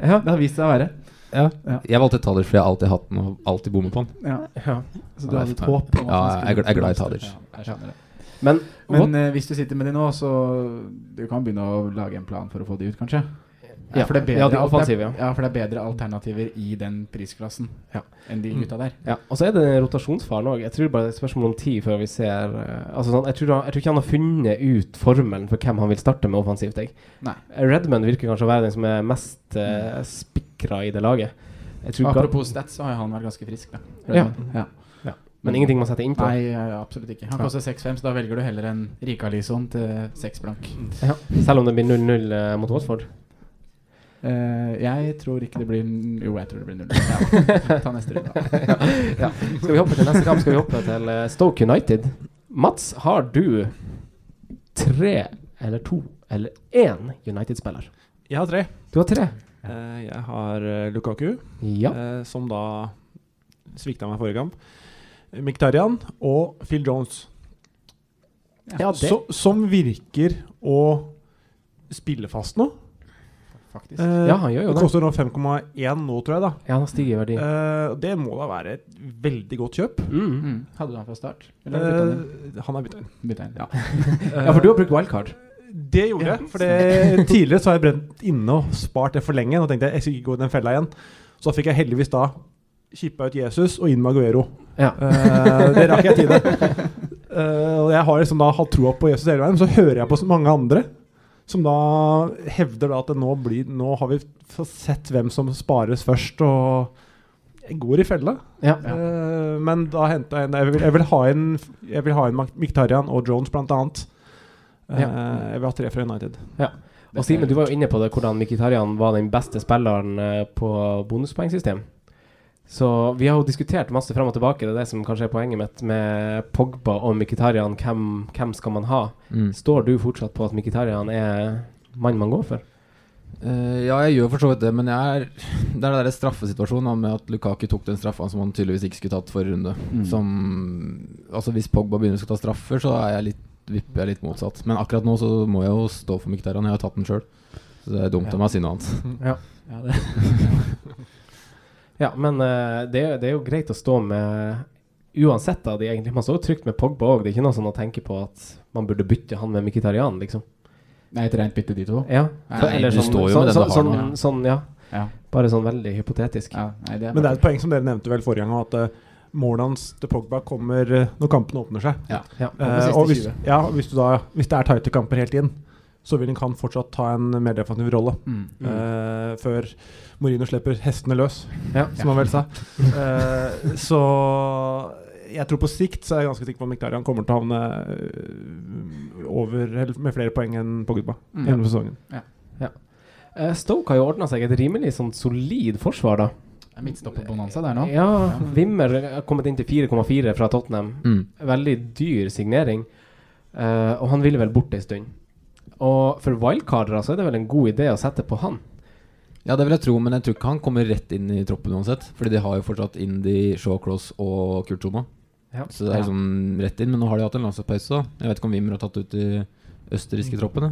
Ja.
Det har vist seg å være.
Ja.
Ja.
Jeg valgte Tadic fordi jeg alltid har hatt den og alltid bommer på den.
Ja.
Ja.
Så
Ja,
du hadde et
det er
håp? om at
Ja,
han
jeg er
skulle-
glad- jeg er glad i Tadic.
Ja, jeg skjønner det.
Men,
Men eh, hvis du sitter med de nå, så du kan begynne å lage en plan for å få de ut, kanskje?
Ja,
for det er bedre,
ja, de
alt-
offensive, ja.
for det er bedre alternativer i den prisklassen
Ja.
enn de gutta der.
Ja, og så er det den rotasjonsfaren òg. Jeg tror bare det er et spørsmål om tid før vi ser eh, Altså sånn, jeg tror, han, jeg tror ikke han har funnet ut formelen for hvem han vil starte med offensivt. Jeg.
Nei.
Redman virker kanskje å være den som er mest uh, spikra i det laget. Jeg tror ikke,
Apropos stats, så har jo han vært ganske frisk, da.
Ja.
ja.
men ingenting man setter inn på.
Nei, eh, absolutt ikke. Han koster 6-5, så da velger du heller en Rika Lison til 6 blank.
Ja. Selv om det blir 0-0 eh, mot Watford.
Eh, jeg tror ikke det blir n- Jo, jeg tror det blir null. Ja. Ta neste runde. da.
ja. Skal vi hoppe til neste kamp? Skal vi hoppe til eh, Stoke United? Mats, har du tre eller to eller én United-spiller?
Jeg har tre.
Du har tre.
Eh, Jeg har eh, Lukaku,
Ja.
eh, som da svikta meg forrige kamp. Miktarian og Phil Jones,
ja det.
så, som virker å spille fast nå.
Faktisk.
Eh,
Ja, han gjør jo
det
det.
koster nå 5,1 nå, tror jeg. da
Ja, han stiger i verdi.
Eh, Det må da være et veldig godt kjøp.
Mm.
Mm. Hadde du han fra start? Eller bytta han inn?
Eh, han er bytta inn.
bytta inn? Ja.
Ja, for du har brukt wildcard.
Det gjorde jeg. For det, tidligere så har jeg brent inne og spart det for lenge. Nå tenkte jeg jeg skal ikke gå i den fella igjen. Så da fikk jeg heldigvis da kippa ut Jesus og inn med Aguero.
Ja.
Eh, det rakk jeg tide. Eh, og jeg har liksom da hatt troa på Jesus hele veien, men så hører jeg på så mange andre som da hevder da at det nå, blir, nå har vi f- sett hvem som spares først, og jeg går i fella.
Ja.
Eh, men da henta jeg en Jeg vil, jeg vil ha inn, jeg vil ha inn Mik- Mkhitaryan og Jones, blant annet. Eh, Jeg vil ha tre fra United.
Og Simen, du var jo inne på det hvordan Mkhitaryan var den beste spilleren eh, på bonuspoengsystem. Så vi har jo diskutert masse fram og tilbake. Det er det som kanskje er poenget mitt med Pogba og Mkhitaryan. Hvem, hvem skal man ha?
Mm.
Står du fortsatt på at Mkhitaryan er mannen man går for?
Eh, ja, jeg gjør for så vidt det, men jeg er, det er den der straffesituasjonen da, med at Lukaki tok den straffa som han tydeligvis ikke skulle tatt forrige runde.
Mm.
Som, altså Hvis Pogba begynner å skal ta straffer, så er jeg litt, vipper jeg litt motsatt. Men akkurat nå så må jeg jo stå for Mkhitaryan, jeg har tatt den sjøl. Så det er dumt av meg å si noe annet.
Ja, det.
Ja, men eh, det, er- det er jo greit å stå med Uansett, da. De egentlig, man står jo trygt med Pogba òg. Det er ikke noe sånn å tenke på at man burde bytte han med Mkhitaryan, liksom.
Nei, et rent bytte, de to.
Ja.
Nei,
Så- eller
du
sånn,
står jo
sånn,
med den
sånn,
du har
sånn,
nå.
sånn, ja.
Ja.
Bare sånn veldig hypotetisk.
Ja, nei, det er
Men det er
bare
et poeng som dere nevnte vel forrige gang, at eh, målet hans til Pogba kommer eh, når kampene åpner seg.
Ja.
Ja.
På de
Eh,
siste
og hvis,
20.
ja, hvis, du da, hvis det er tighte kamper helt inn, så vil han fortsatt ta en mer defensiv rolle.
Mm.
eh, før Mourinho slipper hestene løs,
Ja.
som han vel sa. Eh, så jeg tror på sikt så er jeg ganske sikker på at Mkhitaryan kommer til å havne eh, over, eller med flere poeng enn Pogba
Mm.
gjennom sesongen.
Eh, Stoke har jo ordna seg et rimelig sånn solid forsvar, da.
Det er Midtstopperbonanza der nå.
Ja, Wimmer har kommet inn til 4,4 fra Tottenham.
Mm.
Veldig dyr signering. Eh, og han ville vel bort ei stund. Og for wildcardere så er det vel en god idé å sette på han.
Ja, det vil jeg tro, men jeg tror ikke han kommer rett inn i troppen uansett. Fordi de har jo fortsatt Indy, Shawcross og Kurt Zuma.
Ja.
Så det er liksom rett inn. Men nå har de hatt en landslagspause, da. Jeg vet ikke om Wimmer har tatt ut de østerrikske troppene.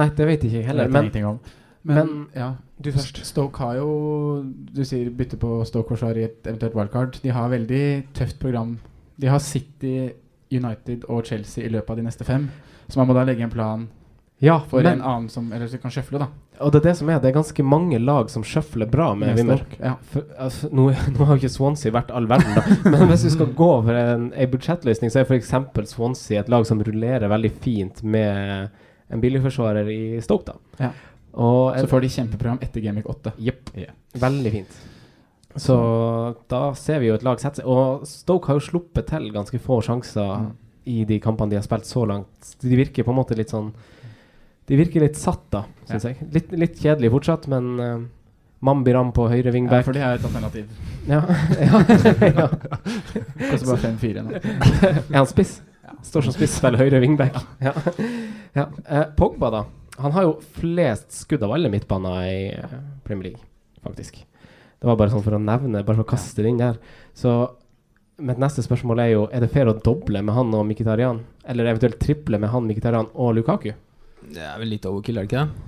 Nei, det vet jeg ikke
Det
heller. Eh,
vet jeg
Men
ingenting om.
men-
men ja,
du først.
Stoke har jo Du sier bytte på Stoke-forsvar i et eventuelt wildcard. De har veldig tøft program. De har City, United og Chelsea i løpet av de neste fem. Så man må da legge en plan
Ja,
for
men,
en annen som Eller så kan sjøfle, da.
og det er det som er. Det er ganske mange lag som sjøfler bra med Wimmer.
Stoke. Ja.
For, altså, nå, nå har jo ikke Swansea vært all verden, da. Men hvis du skal gå for en, en budsjettløsning, så er f.eks. Swansea et lag som rullerer veldig fint med en billigforsvarer i Stoke, da.
Ja.
Og
Så
en,
får de kjempeprogram etter Gamic 8.
Jepp.
Ja.
Veldig fint. Så da ser vi jo et lag sette seg. Og Stoke har jo sluppet til ganske få sjanser
Mm.
i de kampene de har spilt så langt. De virker på en måte litt sånn De virker litt satt, da, syns jeg. Litt, litt kjedelig fortsatt, men uh, Mambiram på høyre
Ja,
wingback
for det er et alternativ.
ja. ja. ja.
Koster bare 5-4 nå.
Er han spiss? Står som spiss, spiller høyre wingback. Ja. Ja. Eh, Pogba, da. Han har jo flest skudd av alle midtbaner i eh, Premier League, faktisk. Det var bare sånn for å nevne, bare for å kaste det inn der. Så mitt neste spørsmål er jo Er det fair å doble med han og Mkhitaryan? Eller eventuelt triple med han, Mkhitaryan og Lukaku?
Det er vel litt overkill, er det ikke det?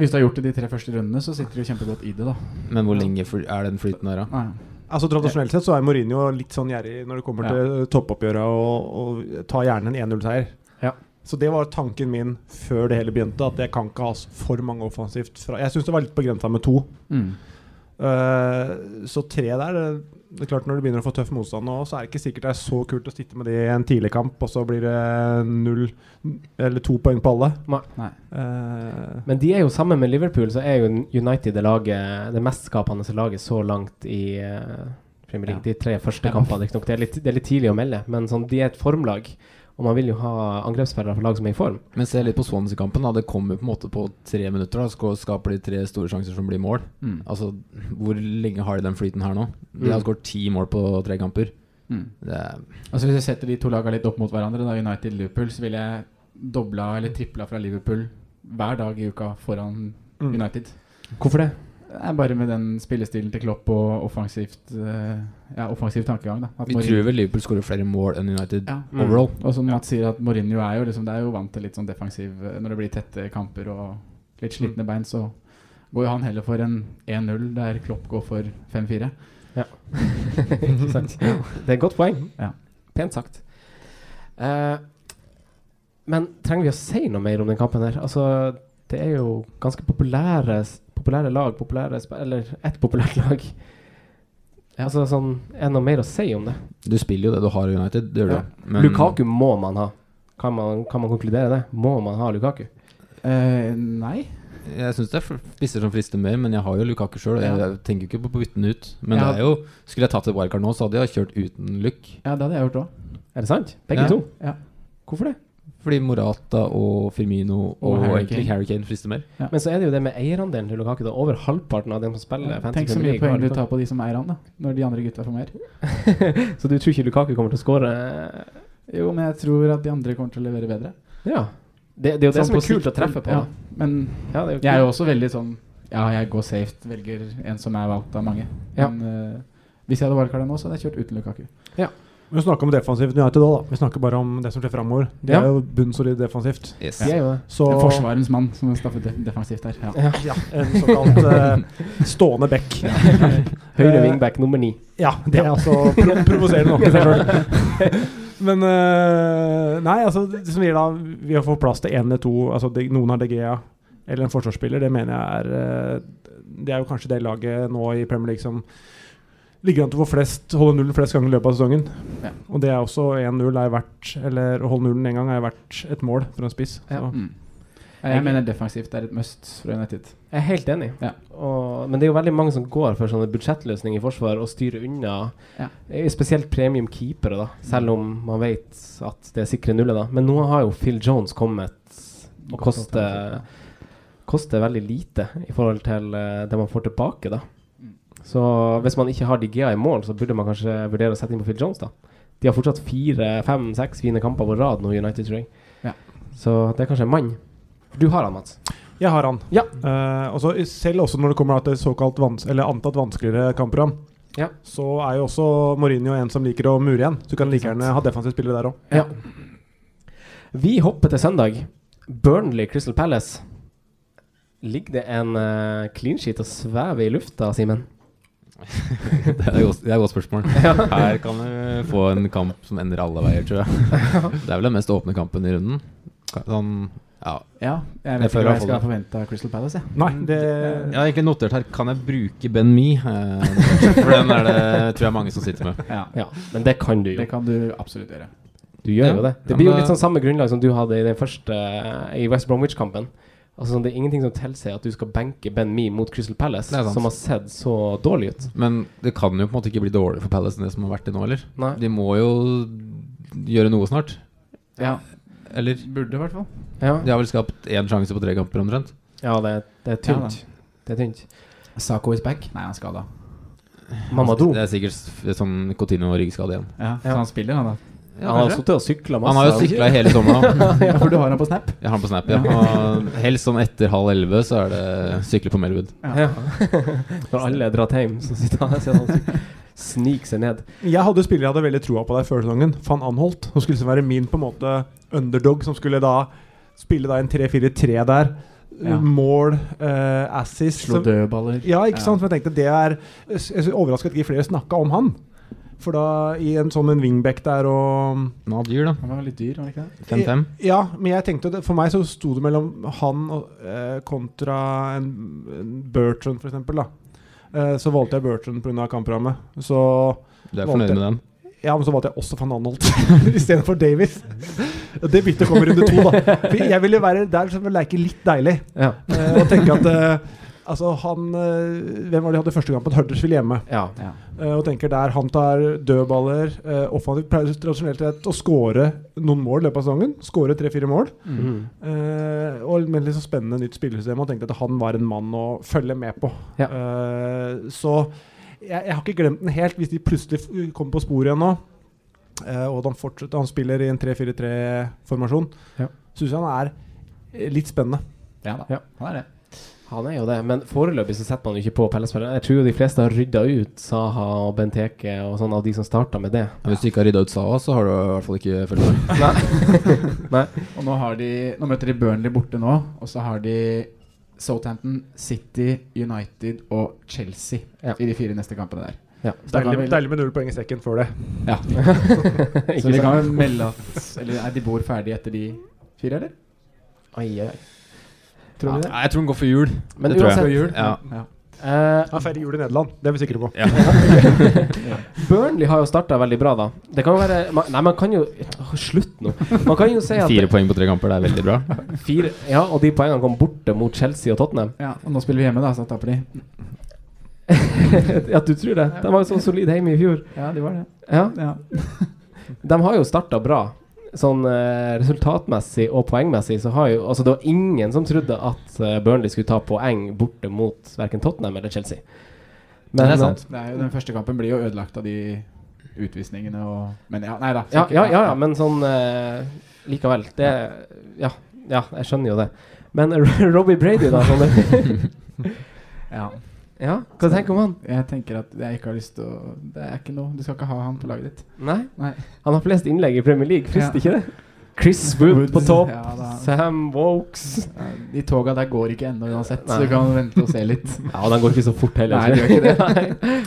Hvis du har gjort det de tre første rundene, så sitter du kjempegodt i det, da.
Men hvor lenge fly- er den flyten her, da?
Nei.
Altså Tradisjonelt sett så er Mourinho litt sånn gjerrig når det kommer
Ja.
til eh, toppoppgjøret, og, og tar gjerne en 1-0-seier.
Ja.
Så det var tanken min før det hele begynte, at jeg kan ikke ha s- for mange offensivt fra Jeg syns det var litt på grensa med to.
Mm.
Eh, så tre der det, det er klart Når du begynner å få tøff motstand nå, så er det ikke sikkert det er så kult å sitte med det i en tidlig kamp, og så blir det null eller to poeng på alle.
Nei.
Nei.
Eh,
Men de er jo sammen med Liverpool, så er jo United det laget Det mest skapende laget så langt i eh, Premier League. De tre første
Ja.
kampene, riktignok. Det, er litt- det er litt tidlig å melde, men sånn, de er et formlag. Og man vil jo ha angrepsspillere for lag som er i form.
Men se litt på Swansea-kampen. da Det kommer på en måte på tre minutter. da Så Skaper de tre store sjanser som blir mål.
Mm.
Altså, Hvor lenge har de den flyten her nå? De har
Mm.
skåret ti mål på tre kamper.
Mm.
Det er
Altså Hvis jeg setter de to lagene litt opp mot hverandre, da United Liverpool, så ville jeg dobla eller tripla fra Liverpool hver dag i uka foran
Mm.
United.
Hvorfor det?
Det er bare med den spillestilen til Klopp og offensivt eh, Ja, offensiv tankegang. da At
Vi
Mourinho-
tror vel Liverpool skårer flere mål enn United
Ja.
Mm.
overall.
Og som Mats sier, at Mourinho er jo liksom Det er jo vant til litt sånn defensiv eh, Når det blir tette kamper og litt
Mm.
slitne bein, så går jo han heller for en 1-0 der Klopp går for 5-4.
Ikke sant? Det er et godt poeng.
Ja.
Pent sagt. Eh, men trenger vi å si noe mer om den kampen her? Altså, det er jo ganske populære, populære lag, populære sp- Eller ett populært lag. Altså, sånn, er det noe mer å si om det?
Du spiller jo det du har i United. Det gjør du.
Ja.
Men-
Lukaku må man ha. Kan man, kan man konkludere det? Må man ha Lukaku?
Eh, nei.
Jeg syns det er spisser som frister mer, men jeg har jo Lukaku sjøl. Jeg
Ja.
tenker jo ikke på å bytte den ut. Men
Ja.
det er jo Skulle jeg tatt et wildcard nå, så hadde jeg kjørt uten Luck.
Ja, det hadde jeg gjort òg.
Er det sant? Begge
Ja.
to?
Ja.
Hvorfor det?
Fordi Morata og Firmino og,
Og Harry
egentlig
Kane.
Harry Kane frister mer.
Men så er det jo det med eierandelen til Lukaku. Da. Over halvparten av dem som spiller fantasy
Tenk så
Premier League
mye
har liksom.
poeng du
Lukaku.
tar på de som eier han, da. Når de andre gutta får mer.
Så du tror ikke Lukaku kommer til å eh, skåre
Jo, men jeg tror at de andre kommer til å levere bedre.
Ja. Det, det er jo det
Sånn
som
på
er kult å
sikt-
treffe på.
Ja,
da.
men
Ja, det er jo
jeg er
kult.
jo også veldig sånn Ja, jeg går safe, velger en som er valgt av mange.
Ja.
Men eh, hvis jeg hadde wildcardet nå, så hadde jeg kjørt uten Lukaku.
Vi snakker om defensivt United òg, da. Vi snakker bare om det som skjer framover. De
Ja.
er jo bunnsolid defensivt.
Yes.
De er jo det.
Så
Forsvarens mann som er staffet def- defensivt der. Ja.
Ja, en såkalt eh, stående back.
Høyre
Eh,
wingback nummer ni.
Ja, det er altså pro provoserende nok i seg sjøl. Men eh, Nei, altså, det som gir da Vi har fått plass til én eller to altså, de, Noen har DGA eller en forsvarsspiller. Det mener jeg er eh, Det er jo kanskje det laget nå i Premier League som ligger an til å få flest holde nullen flest ganger i løpet av sesongen.
Ja.
Og det er også 1-0 er verdt Eller å holde nullen én gang er verdt et mål for en spiss. Så.
Ja.
Mm. Ja, Jeg mener defensivt er et must fra United.
Jeg er helt enig.
Ja.
Og, men det er jo veldig mange som går for sånne budsjettløsninger i forsvar og styrer unna.
Ja.
Eh, Spesielt premium keepere, da. Selv om man vet at det er sikre nuller, da. Men nå har jo Phil Jones kommet og
Godt
koster
alternativ,
koster veldig lite i forhold til eh, det man får tilbake, da. Så hvis man ikke har Digea i mål, så burde man kanskje vurdere å sette inn på Phil Jones, da. De har fortsatt fire, fem, seks fine kamper på rad nå, United, tror jeg.
Ja.
Så det er kanskje en mann. Du har han, Mats.
Jeg har han.
Ja.
Eh, og så selv også når det kommer da til såkalt vans eller antatt vanskeligere kampprogram,
Ja.
så er jo også Mourinho en som liker å mure igjen. Så du kan like gjerne ha defensive spillere der òg.
Ja. Vi hopper til søndag. Burnley Crystal Palace. Ligger det en eh, clean sheet og svever i lufta, Simen?
Det er et godt- det er et godt spørsmål. Her kan du få en kamp som ender alle veier, tror jeg. Det er vel den mest åpne kampen i runden. Sånn, ja.
Ja, jeg
Jeg
vet ikke hva
føler jeg
jeg
får
skal forvente av Crystal Palace, jeg.
Nei, det
Jeg har egentlig notert her Kan jeg bruke Ben Me? Eh, For den er det tror jeg mange som sitter med.
Ja.
Ja, men det kan du jo.
Det kan du absolutt gjøre.
Du gjør
Ja.
jo det. Det
Ja,
blir jo
men,
litt sånn samme grunnlag som du hadde i den første eh, i West Bromwich-kampen. Altså, sånn, det er ingenting som tilsier at du skal benke Ben Mee mot Crystal Palace,
Det er sant.
som har sett så dårlig ut.
Men det kan jo på en måte ikke bli dårligere for Palace enn det som har vært det nå, eller?
Nei.
De må jo gjøre noe snart.
Ja,
Eller?
Burde i hvert fall.
Ja,
De har vel skapt én sjanse på tre kamper, omtrent.
ja det, det er tynt. det er tynt.
Sako is back. Nei, han er skada.
Mamadou.
Det er sikkert s- sånn Coutinho-ryggskade igjen.
Ja, så
Ja.
han spiller, han da.
han har sittet og sykla masse.
Han har jo sykla hele sommeren. da.
Ja, for du har han på Snap?
Jeg har han på Snap, ja. Og helst sånn etter halv elleve så er det sykle på Melwood.
Ja. Når alle drar hjem, så sitter han sitter han og syk- sniker seg ned.
Jeg hadde jo spillere jeg hadde veldig troa på der før sesongen. Van Anholt. Som skulle liksom være min på en måte underdog, som skulle da spille da en 3-4-3 der.
Ja.
Mål, eh, assist
Slå
som-
dødballer.
Ja, ikke
Ja.
sant? Men jeg tenkte det er Jeg er overraska at ikke flere snakka om han. For da i en sånn en wingback der og
Nadir, da.
Han var litt dyr, var han ikke det?
5-5.
Ja, men jeg tenkte det, For meg så sto det mellom han og, eh, kontra en, en Bertrand, for eksempel, da. Eh, så valgte jeg Bertrand pga. kampprogrammet. Så
Du er fornøyd med den?
Ja, men så valgte jeg også van Anholt istedenfor Davis. Det byttet kom i runde to, da. For jeg ville være der som å leke litt deilig.
Ja.
eh, og tenke at eh, Altså, han eh, Hvem var det de hadde første kampen? Huddersfield hjemme.
ja.
Ja.
Eh, og tenker der han tar dødballer eh, offensivt, pleier tradisjonelt sett å skåre noen mål i løpet av sesongen. Skåre tre-fire mål.
Mm.
Eh, og med litt så spennende nytt spillesystem og tenkte at han var en mann å følge med på.
Ja.
Eh, så jeg, jeg har ikke glemt den helt, hvis de plutselig f- kommer på sporet igjen nå. eh, og at han fortsetter Han spiller i en 3-4-3-formasjon.
Ja.
Syns jeg han er eh, litt spennende.
Ja da.
Ja.
Han er det.
Han er jo det, men foreløpig så setter man jo ikke på pellespilleren. Jeg tror jo de fleste har rydda ut Saha og Benteke og sånn av de som starta med det.
Ja, hvis du ikke har rydda ut Saha, så har du i hvert fall ikke fulgt med.
Og nå, har de, nå møter de Burnley borte nå, og så har de Southampton, City, United og Chelsea
Ja.
i de fire neste kampene der.
Ja.
Så, da kan
Deilig,
vi,
deilig med null poeng i sekken før det.
ja. så vi kan vel melde at Eller nei, de bor ferdig etter de fire, eller?
Ai, ai.
Tror du det?
Nei, jeg tror den går for jul.
Men
Det tror jeg.
uansett
Ja.
Ja.
eh,
Han feirer jul i Nederland, det er vi sikre på.
Burnley har jo starta veldig bra, da. Det kan jo være man, Nei, man kan jo Åh, Slutt nå. Man kan jo si at
Fire poeng på tre kamper, det er veldig bra.
Fire, ja, og de poengene kom borte mot Chelsea og Tottenham.
Ja, og nå spiller vi hjemme, da, så da taper de.
ja, du tror det? De var jo så solide hjemme i fjor.
Ja, de var det.
Ja,
Ja.
De har jo starta bra. Sånn eh, resultatmessig og poengmessig så har jo Altså, det var ingen som trodde at eh, Burnley skulle ta poeng borte mot verken Tottenham eller Chelsea. Men,
Det er
eh,
sant.
Det er jo, den første kampen blir jo ødelagt av de utvisningene og Men ja, nei da.
Ja,
sikkert.
ja, ja, ja, men sånn eh, Likevel. Det ja, ja, jeg skjønner jo det. Men Robbie Brady, da? Sånn,
Ja.
ja, hva tenker du om han?
Jeg tenker at jeg ikke har lyst til å Det er ikke noe Du skal ikke ha han på laget ditt.
Nei?
Nei.
Han har flest innlegg i Premier League, frister
Ja.
ikke det? Chris Wood på topp.
Ja, da.
Sam Wokes.
De toga der går ikke ennå uansett, så
Nei.
du kan vente og se litt.
Ja, og den går ikke så fort heller.
Nei,
så-
det
Nei.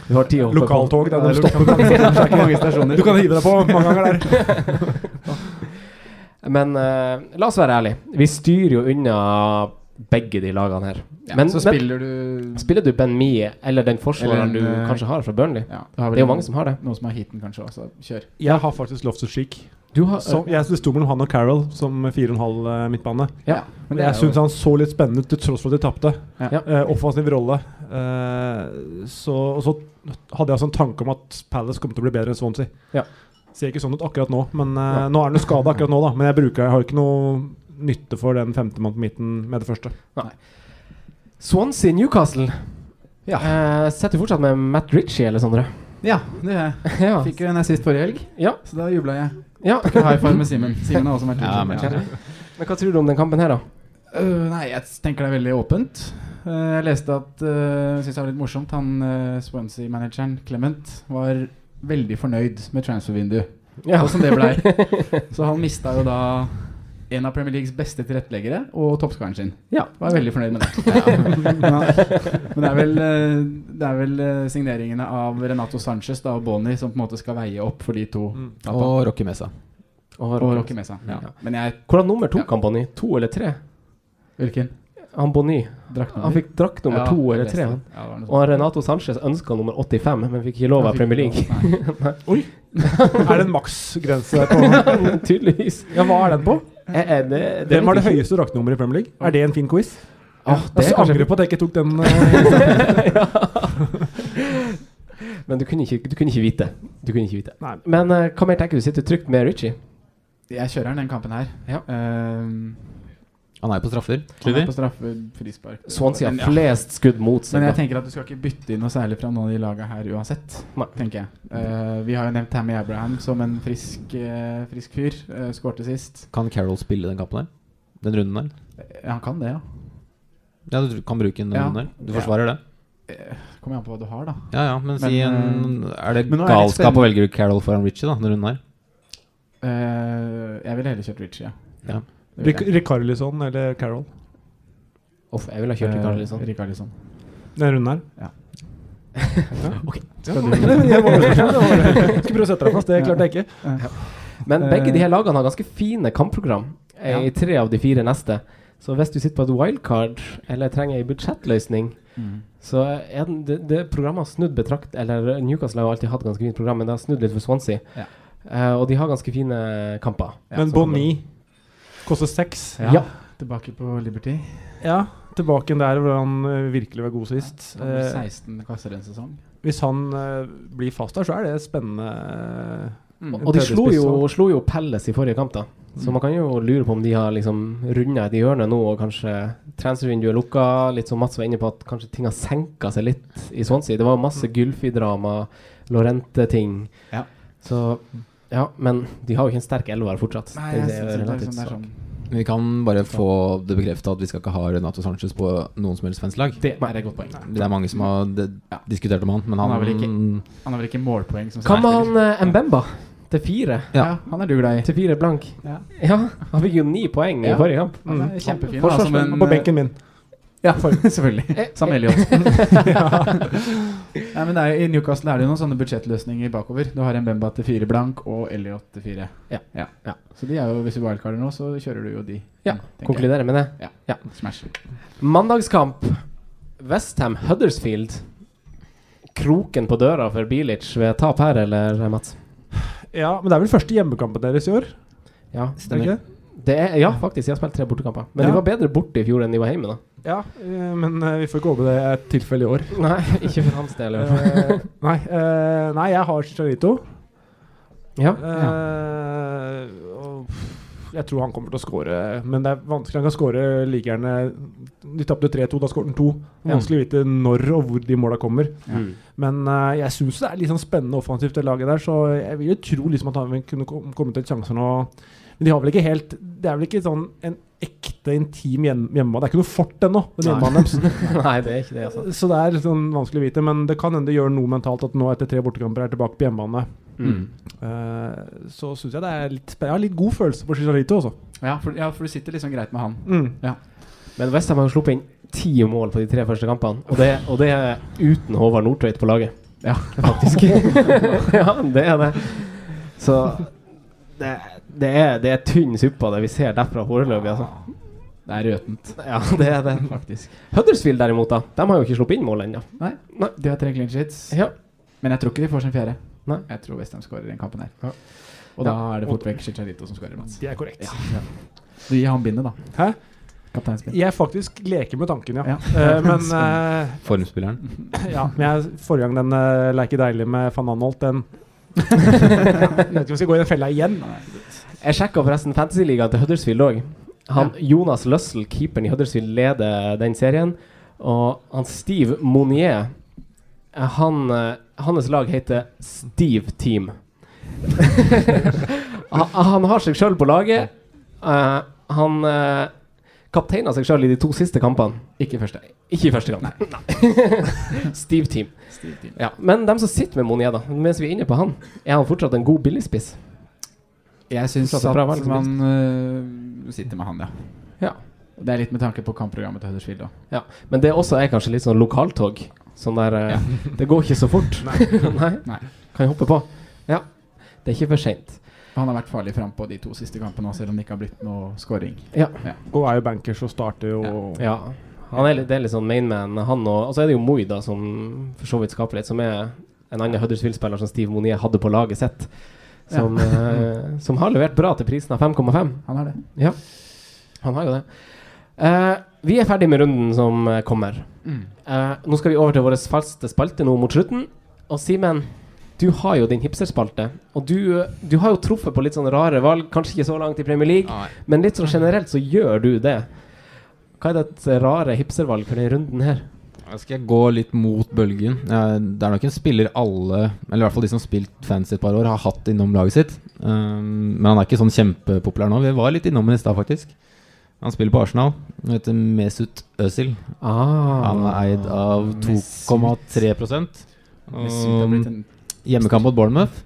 Du har tid å hoppe på.
Lokaltog, det er det du stopper
Det er ikke mange stasjoner.
Du kan hive deg på mange ganger der.
Men eh, la oss være ærlige. Vi styrer jo unna begge de lagene her.
Ja,
men,
så
men
spiller du
spiller du Ben Mee eller den forsvareren
Eller en,
du
eh,
kanskje har fra Burnley?
ja, du har
Det er jo mange som har det.
Noen som har heaten, kanskje. Også. Kjør.
Jeg har faktisk Loftus-Cheek.
Du har,
Jeg det sto mellom han og Carroll som 4,5 midtbane.
Ja,
Men jeg syns han så litt spennende ut til tross for at de tapte.
Ja.
Ja.
Eh, offensiv rolle. Eh, så, og så hadde jeg altså en tanke om at Palace kom til å bli bedre enn Swansea.
Ja.
Ser ikke sånn ut akkurat nå, men eh, nå er han jo skada akkurat nå, da. Men jeg, bruker, jeg har ikke noe nytte for den femtemann på midten med det første.
Swansea Newcastle.
Ja.
Eh, setter fortsatt med Matt Ritchie eller Sondre.
Ja, det gjør jeg.
ja.
Fikk jo en assist forrige helg,
Ja.
så da jubla jeg.
ja.
Fikk en High five med Simen. Simen har også vært
Ja,
litt
men-
sliten.
Men hva tror du om den kampen her, da?
Øh, nei, jeg tenker det er veldig åpent. Øh, jeg leste at uh, synes det var litt morsomt. Han øh, Swansea-manageren Clement var veldig fornøyd med transfervinduet.
Ja.
Og Sånn som det blei. Så han mista jo da en av Premier Leagues beste tilretteleggere og toppskåreren sin.
Ja.
Var veldig fornøyd med det. Men han- Men det er vel, øh, det er vel øh, signeringene av Renato Sanchez da, og Boni som på en måte skal veie opp for de to.
Og Rocky Mesa.
Og
Og
Rocky.
Rocky Mesa.
Ja.
Men jeg
Hvordan nummer tok
Ja.
han Bonny? To eller tre?
Hvilken?
Han Bonny. Han
Draktnummer?
fikk drakt nummer
Ja,
to eller
jeg
tre.
leste
Han.
det. Ja, det var noe sånt.
Og Renato Sanchez ønska nummer 85, men fikk ikke lov av
Han fikk
Premier
ikke
League.
lov. Nei.
Er det en maksgrense der på
Tydeligvis.
Ja, hva er den på?
Eh, eh, det, det
Hvem
vet
har det
jeg ikke.
høyeste draktnummeret i Premier League? Er det en fin quiz? Altså,
Ah, det
Altså,
Jeg
er kanskje-
angrer på at jeg ikke tok den. eh,
Men du kunne, ikke, du kunne ikke vite. Du kunne ikke vite.
Nei.
Men eh, hva mer tenker du? Sitter du trygt med Ritchie?
Jeg kjører den, den kampen her.
Ja.
Ehm,
Han er jo på straffer.
han
Tror vi?
er på straffe, frispark
Swansea
Men-
har flest skudd mot seg.
Men jeg
da.
tenker at du skal ikke bytte inn noe særlig fra noen av de laga her uansett.
Nei.
tenker jeg Eh, Vi har jo nevnt Tammy Abraham som en frisk, eh, frisk fyr. Uh, Skårte sist.
Kan Carroll spille den kampen der? Den runden der?
Ja, han kan det, ja.
Ja, du kan bruke den
Ja.
runden der. Du
Ja.
forsvarer det?
Kommer an på hva du har, da.
Ja ja, men si
Men,
en Er det
men nå er jeg litt
galskap
spent.
å velge Carroll foran Ritchie, da, den runden her?
Eh, jeg ville heller kjørt Ritchie, ja.
Ja.
Det ville
Ric-
jeg.
Rikarlison eller Carol?
Uff, jeg ville ha kjørt i
Eh,
Carl, liksom.
Rikarlison.
Den runden her.
Skal du-
Jeg var overrasket, det var det. Skulle prøve å sette deg fast, det klarte jeg ikke.
Men
Eh,
begge de her lagene har ganske fine kampprogram eh,
Ja.
i tre av de fire neste. Så hvis du sitter på et wildcard eller trenger ei budsjettløsning,
Mm.
så er den, det, det programmet har snudd betrakt Eller Newcastle har jo alltid hatt ganske fint program, men det har snudd litt for Swansea.
Ja.
Eh, og de har ganske fine kamper.
Ja,
Men
så kommer
Bonny koster seks.
det. Ja. Tilbake på Liberty.
Ja, tilbake igjen der hvor han eh, virkelig var god sist.
Han ble
Eh,
16 kasser en sesong.
Hvis han eh, blir fast der, så er det spennende. eh,
Og,
En
og de slo
tredjespiss
jo, slo jo Pelles i forrige kamp, da.
Mm.
Så man kan jo lure på om de har liksom runda et hjørne nå, og kanskje transfervinduet er lukka. Litt som Mats var inne på, at kanskje ting har senka seg litt i Swansea. Det var masse Gylfi-drama, Lorente-ting.
Mm. Ja.
Så ja, men de har jo ikke en sterk elver fortsatt.
Nei, jeg
Det er
synes det er
relativt
liksom, det er
svak.
sånn
Vi kan bare få det bekrefta at vi skal ikke ha Renato Sanchez på noen som helst svensk lag.
Det er et godt poeng.
Det er mange som har de,
Ja.
diskutert om han, men han,
Han er vel ikke- Han har vel ikke målpoeng som
Hva med
særspiller?
han eh, Mbemba? Til fire.
Ja.
Ja. han er du glad i.
Til fire blank.
Ja.
Ja, han fikk jo ni poeng i
Ja.
forrige kamp.
Han er Mm, kjempefin. da, som en-
Forsvarsspiller på benken min.
Ja, for, selvfølgelig. Sam Elliot. Nei, men det er, I Newcastle er det jo noen sånne budsjettløsninger bakover. Du har en Bemba til fire blank og Elliot til fire.
Ja. Ja.
Så de er jo, hvis du wildcarder nå, så kjører du jo de.
Ja,
tenker jeg.
Konkluderer med det.
Smash.
Mandagskamp. Westham Huddersfield. Kroken på døra for Bilic ved tap her, eller eh, Mats?
eh, Ja, men det er vel første hjemmekampen deres i år? er
Ja,
det
Stemmer.
ikke det?
det er, ja faktisk. De har spilt tre bortekamper. Men
Ja.
de var bedre borte i fjor enn de var hjemme, da.
Ja, eh, men eh, vi får ikke håpe det er et tilfelle i år.
Nei, ikke for hans del. i hvert fall.
Eh, nei, eh, nei, jeg har Chicharito.
Ja.
Eh, og jeg tror han kommer til å score, men det er vanskelig. Han kan score like gjerne De tapte 3-2, da skåret han to. Det er Vanskelig å vite når og hvor de måla kommer.
Mm.
Men eh, jeg syns det er litt sånn spennende offensivt, det laget der. Så jeg vil jo tro liksom at han vil kunne kom- komme til sjanser nå. Men de har vel ikke helt Det er vel ikke sånn en ekte intim hjem- hjemmebane. Det er ikke noe fort ennå. den
Nei.
hjemmebanen deres.
Nei, det er ikke det, altså.
Så det er litt sånn vanskelig å vite. Men det kan hende det gjør noe mentalt at nå etter tre bortekamper er jeg tilbake på hjemmebane.
Mm.
Eh, så syns jeg det er litt spen- Jeg har litt god følelse på Chicharito også.
Ja for, ja, for du sitter liksom greit med han.
Mm.
Men Westham har jo sluppet inn ti mål på de tre første kampene, og det, og det er uten Håvard Nordtveit på laget.
Ja.
faktisk. ja, det er det. Så det, det, er, det er tynn suppe, det vi ser derfra foreløpig, altså.
Det er røtent,
Ja, det er det.
faktisk.
Huddersfield derimot, da. De har jo ikke sluppet inn mål ennå.
De har tre clean sheets,
Ja.
men jeg tror ikke de får sin fjerde.
Nei.
Jeg tror Westham skårer den kampen her.
Ja.
Og da er det fort vekk Chicharito som skårer, Mats.
Det er korrekt.
Du gir han bindet, da.
Hæ?
Kapteinspinn.
Jeg faktisk leker med tanken, ja.
Ja.
Eh, men eh,
Formspilleren.
Ja, men jeg, forrige gang den uh, Leike deilig med van Anholt, den Jeg vet ikke om jeg skal gå i den fella igjen.
Jeg sjekka forresten Fantasyligaen til Huddersfield òg. Han Jonas Lussell, keeperen i Huddersfield, leder den serien. Og han Steve Monier eh, han, eh, Hans lag heter Steve Team. han, han har seg sjøl på laget. Eh, han eh, kapteina seg sjøl i de to siste kampene. Ikke i første, ikke i første kamp. Nei. Steve Team. Ja. Men dem som sitter med Monier, da, mens vi er inne på han, er han fortsatt en god billigspiss?
Jeg syns
Prater
at
bra, vel,
man øh, sitter med han, ja.
Ja.
Det er litt med tanke på kampprogrammet til Huddersfield òg.
Ja, men det også er kanskje litt sånn lokaltog. Sånn der eh, Det går ikke så fort. Nei.
Nei.
Kan jeg hoppe på? Ja. Det er ikke for seint.
Han har vært farlig frampå de to siste kampene, også, selv om det ikke har blitt noe scoring.
Og er jo bankers og starter jo
Ja. Han er litt, det er litt sånn mainman, han og Og så er det jo Moi, da, som for så vidt skaper litt, som er en annen Huddersfield-spiller som Steve Monier hadde på laget sitt. Som, eh, som har levert bra til prisen av 5,5.
Sånn. Han har det.
Han har jo det. Eh, vi er ferdig med runden som eh, kommer.
Mm.
Eh, nå skal vi over til vår faste spalte nå mot slutten. Og Simen, du har jo din hipsterspalte. Og du, eh, du har jo truffet på litt sånne rare valg, kanskje ikke så langt i Premier League,
Nei.
men litt sånn generelt så gjør du det. Hva er ditt eh, rare hipstervalg for denne runden her?
Da skal jeg gå litt mot bølgen. Eh, Det er nok en spiller alle, eller i hvert fall de som har spilt fancy et par år, har hatt innom laget sitt. Um, Men han er ikke sånn kjempepopulær nå. Vi var litt innom ham i stad, faktisk. Han spiller på Arsenal. Han heter Mesut Özil.
Ah.
Han er eid av 2,3
Mesut har
Og
blitt en
Hjemmekamp mot Bournemouth.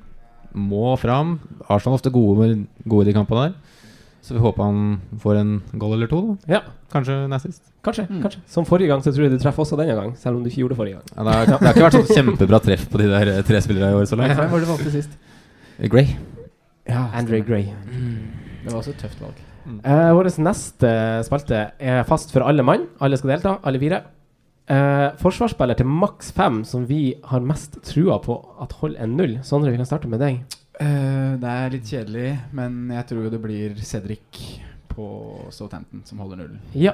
Må fram. Arsenal er ofte gode, med, gode i de kampene der. Så vi håper han får en goal eller to. Da.
Ja,
Kanskje nazist.
kanskje.
Mm.
kanskje Som forrige gang, så tror jeg du treffer også denne gang, selv om du ikke gjorde det forrige gang.
Ja, det, har, det har ikke vært sånn kjempebra treff på de der eh, tre spillerne i år så langt.
Hvem var det du valgte sist?
Gray.
Ja,
Andre Gray.
Det var også et tøft valg.
Eh, Vår neste spalte er fast for alle mann. Alle skal delta, alle fire. Eh, forsvarsspiller til maks fem som vi har mest trua på at holder en null. Sondre, vi kan starte med deg.
Eh, det er litt kjedelig, men jeg tror jo det blir Cedric på Southampton som holder nullen.
Ja.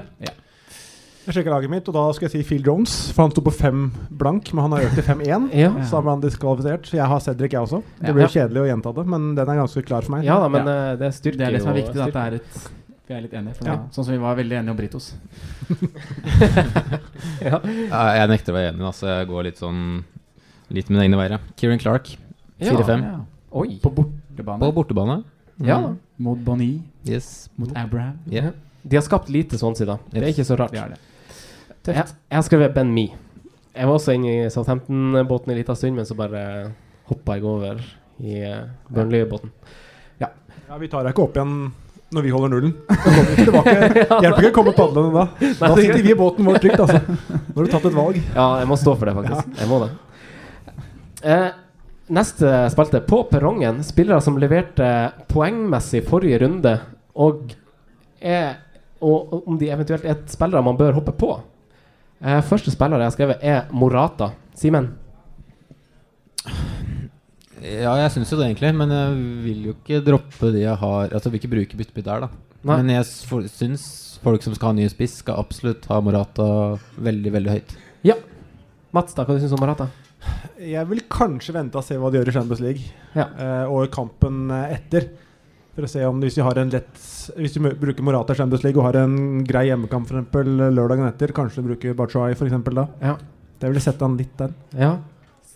Jeg sjekker laget mitt, og da skal jeg si Phil Jones. For han sto på fem blank, men han har økt til 5-1.
Ja,
Så da ble han diskvalifisert. Så jeg har Cedric, jeg også.
Ja.
Det blir jo kjedelig å gjenta det, men den er ganske klar for meg.
ja da, men eh, det styrker
Det er det som er
jo-
viktig, da, at det er et vi er litt enige. For
Ja.
nå- Sånn som vi var veldig enige om Britos.
Ja, jeg nekter å være enig, da, så jeg går litt sånn Litt mine egne veier. ja. Kieran Clark,
Ja.
4-5.
Ja.
Oi.
På
På
bortebane.
bortebane.
Mm.
Ja da.
Mot Bonny,
Yes.
mot Abraham.
Yeah.
De har skapt lite sånn siden. Det er
Yes.
ikke så rart.
Det er det.
Jeg, jeg har skrevet Ben Me. Jeg var også inne i Southampton-båten en liten stund, men så bare hoppa jeg over i eh, Burnley-båten.
Ja, vi tar deg ikke opp igjen når vi holder nullen. Da kommer vi ikke tilbake. Hjelper ikke å komme padlende da. Da sitter vi i båten vår trygt, altså. Nå har du tatt et valg.
Ja, jeg må stå for det, faktisk. Jeg må det. Eh, neste spalte. På perrongen, spillere som leverte poengmessig forrige runde, og, er, og og om de eventuelt er spillere man bør hoppe på. Eh, første spiller jeg har skrevet, er Morata. Simen?
Ja, jeg syns jo det, egentlig. Men jeg vil jo ikke droppe de jeg har Altså, jeg vil ikke bruke byttebytt der, da.
Nei.
Men jeg s- for- syns folk som skal ha ny spiss, skal absolutt ha Morata veldig, veldig høyt.
Ja. Mats, da, hva syns du om Morata?
Jeg vil kanskje vente og se hva de gjør i Champions League
Ja.
eh, og kampen eh, etter. For å se om hvis de har en lett Hvis de mø- bruker Morata i Champions League og har en grei hjemmekamp for eksempel lørdagen etter, kanskje de bruker Bachoi for eksempel da.
Ja.
Jeg ville sette han litt der.
ja.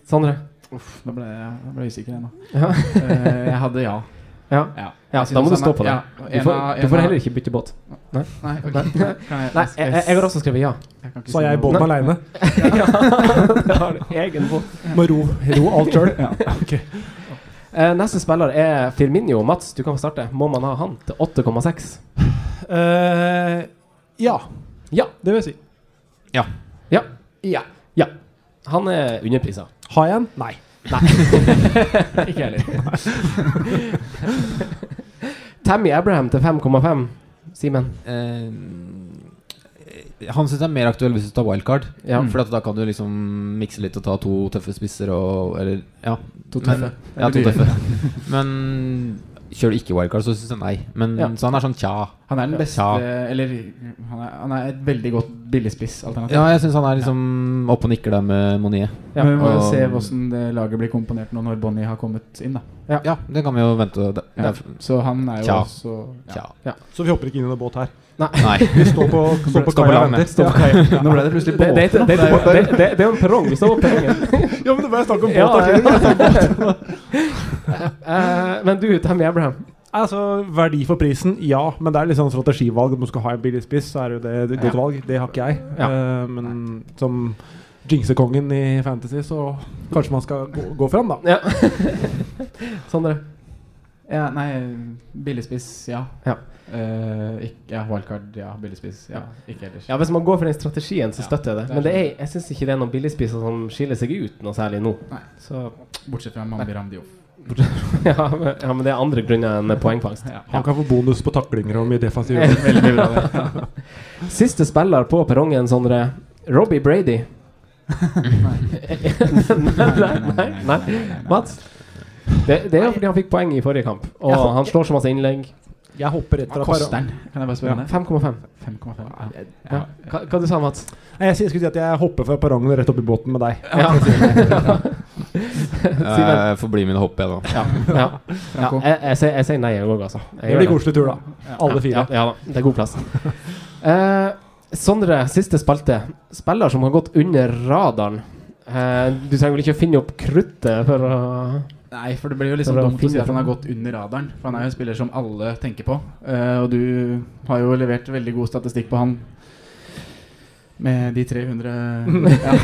Sondre?
Uff, nå ble jeg, nå ble jeg usikker ennå.
Ja.
Eh, jeg hadde ja.
Ja. Ja,
Jeg synes
da må du
han er-
stå på det.
ja,
Du
en
får,
av-
du
en
får
av-
heller ikke bytte båt.
Nei, ok.
Nei.
Kan jeg,
Nei, jeg, jeg, jeg har også skrevet ja.
jeg kan ikke
Så
si
har jeg
noe.
båten alene
ja. Det har du egen båt.
Må ro, ro alt sjøl.
Eh, neste spiller er Firminio. Mats, du kan få starte. Må man ha han til 8,6?
Eh, ja,
Ja.
det vil jeg si.
Ja. Ja. ja. Han er underprisa.
Har jeg en? Nei.
Ikke heller. Tammy Abraham til 5,5. Simen.
Eh, han syns jeg er mer aktuell hvis du tar wildcard.
Ja.
For at da kan du liksom mikse litt og ta to tøffe spisser og Eller, ja.
To tøffe.
Men, ja, to
dyre.
tøffe. Men Kjører du ikke wildcard, så syns jeg nei. Men
Ja.
så han er sånn tja.
Han er den beste
Ja.
Eller han er, han er et veldig godt billigspissalternativ.
Ja, jeg syns han er liksom oppe og nikker der med Monier.
Ja,
Men vi må jo
og-
se hvordan det laget blir komponert nå når Bonnie har kommet inn. da
Ja, det kan vi jo vente. Det, det er,
Så han er jo
Tja.
også
tja.
Så vi hopper ikke inn i noen båt her.
Nei.
Vi står på, står på
Står på
kaia og
land,
venter.
står på
Ja.
Nå ble det plutselig
Det, det,
båter.
det, det, det, det, det er jo en perrong. Vi står på perrongen.
Ja, men det ble snakk om båt.
Ja,
her.
Eh, men du, Tammy Abraham.
Altså, Verdi for prisen, ja. Men det er litt sånn strategivalg. Om du skal ha en billig spiss, så er det jo det et godt
Ja.
valg. Det har ikke jeg. Eh, men som jinxekongen i Fantasy, så kanskje man skal gå, gå fram, da.
Ja. Sondre.
Ja, nei, billigspiss, ja.
Ja.
Eh, ikke, ja, wildcard, ja. Billigspiss, ja. Ikke ellers.
Ja, Hvis man går for den strategien, så
Ja,
støtter jeg det.
det er
Men det er,
sånn.
jeg syns ikke det er noen billigspisser som skiller seg ut noe særlig nå.
Nei.
Så
Bortsett fra Mambi Ramdiof.
ja, men, ja, men det er andre grunner enn poengfangst.
Ja.
Han kan få bonus på taklinger og mye defensiv.
Veldig bra, det.
Siste spiller på perrongen, Sondre. Robbie Brady. nei, nei, nei, nei. Mats? Det, det er jo fordi han fikk poeng i forrige kamp, og
Ja.
han slår så masse innlegg.
Jeg hopper rett
Hva
fra
koster
perrongen.
den? Kan jeg bare spørre om det?
5,5.
5,5. Ja.
Ja. Hva, hva du sa du, Mats?
Nei, Jeg skulle si at jeg hopper fra perrongen og rett opp i båten med deg.
Ja. Simen.
Jeg Eh, får bli med og hoppe, jeg, da.
Ja. ja. ja.
Franco.
Jeg, jeg, sier- jeg sier nei, jeg òg, altså. Jeg
Det
gjør
blir koselig tur, da.
Ja.
Alle fire.
Ja, ja da, det er god plass. Eh, Sondre, siste spalte. Spiller som har gått under radaren. Eh, du trenger vel ikke å finne opp kruttet for å
Nei, for det blir jo liksom
Det er bra å
dumt å si
finne
at han har gått under radaren. For han er jo en spiller som alle tenker på. Eh, og du har jo levert veldig god statistikk på han med de 300 ja,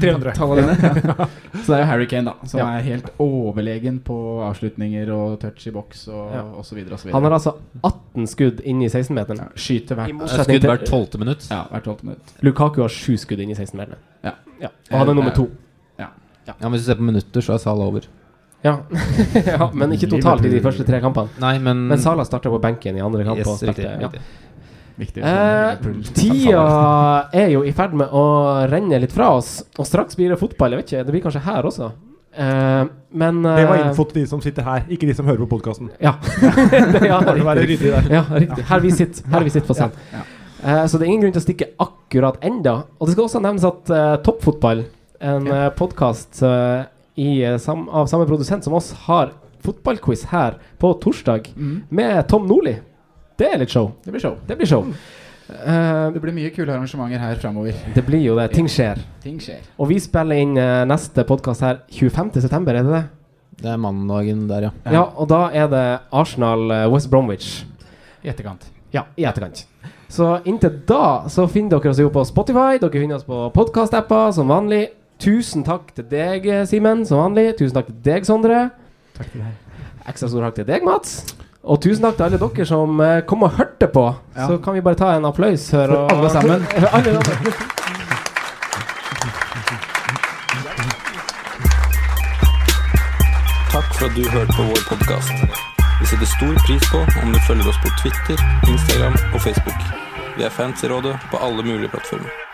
300.
tallene dine. Ja. Så det er jo Harry Kane, da, som
Ja.
er helt overlegen på avslutninger og touch i boks og
Ja.
og så videre og
Han
så videre.
har altså 18 skudd inn i 16-meteren.
Ja, skyter hvert,
Skudd hvert tolvte minutt.
ja, hvert 12. minutt.
Lukaku har sju skudd inn i 16-meteren.
Ja.
Og han er nummer to.
Ja, men Hvis du ser på minutter, så er Sala over.
Ja. ja, men ikke totalt i de første tre kampene.
Nei, men,
Men Salah starta på benken i andre kamp.
Mm. Yes,
og
riktig,
spilte, ja.
riktig.
Viktig.
Eh, tida er jo i ferd med å renne litt fra oss, og straks blir det fotball. Jeg vet ikke, Det blir kanskje her også. Eh, men
Det var
eh,
info til de som sitter her, ikke de som hører på podkasten.
Ja. Det- ja,
Bare være
riktig.
ryddig der.
ja, riktig. Her vi sitter, her vi sitter på scenen. Eh, så det er ingen grunn til å stikke akkurat enda. Og det skal også nevnes at eh, Toppfotball, en eh, ja. podkast eh, sam, av samme produsent som oss, har fotballquiz her på torsdag
Mm.
med Tom Nordli. Det er litt show.
Det blir show.
Det blir show. Eh,
Det blir mye kule arrangementer her framover.
det blir jo det. Ting skjer.
Ting skjer.
Og vi spiller inn eh, neste podkast her 25.9., er det det?
Det er mandagen der, ja.
Ja. og da er det Arsenal eh, West Bromwich.
I etterkant.
Ja, i etterkant. Så inntil da så finner dere oss jo på Spotify, dere finner oss på podkast-apper som vanlig. Tusen takk til deg, eh, Simen, som vanlig. Tusen takk til deg, Sondre.
Takk til deg.
Ekstra stor takk til deg, Mats. Og tusen takk til alle dere som eh, kom og hørte på.
Ja.
Så kan vi bare ta en applaus her. og-
alle sammen.
alle sammen.
Takk for at du hørte på vår podkast. Vi setter stor pris på om du følger oss på Twitter, Instagram og Facebook. Vi er fans i rådet på alle mulige plattformer.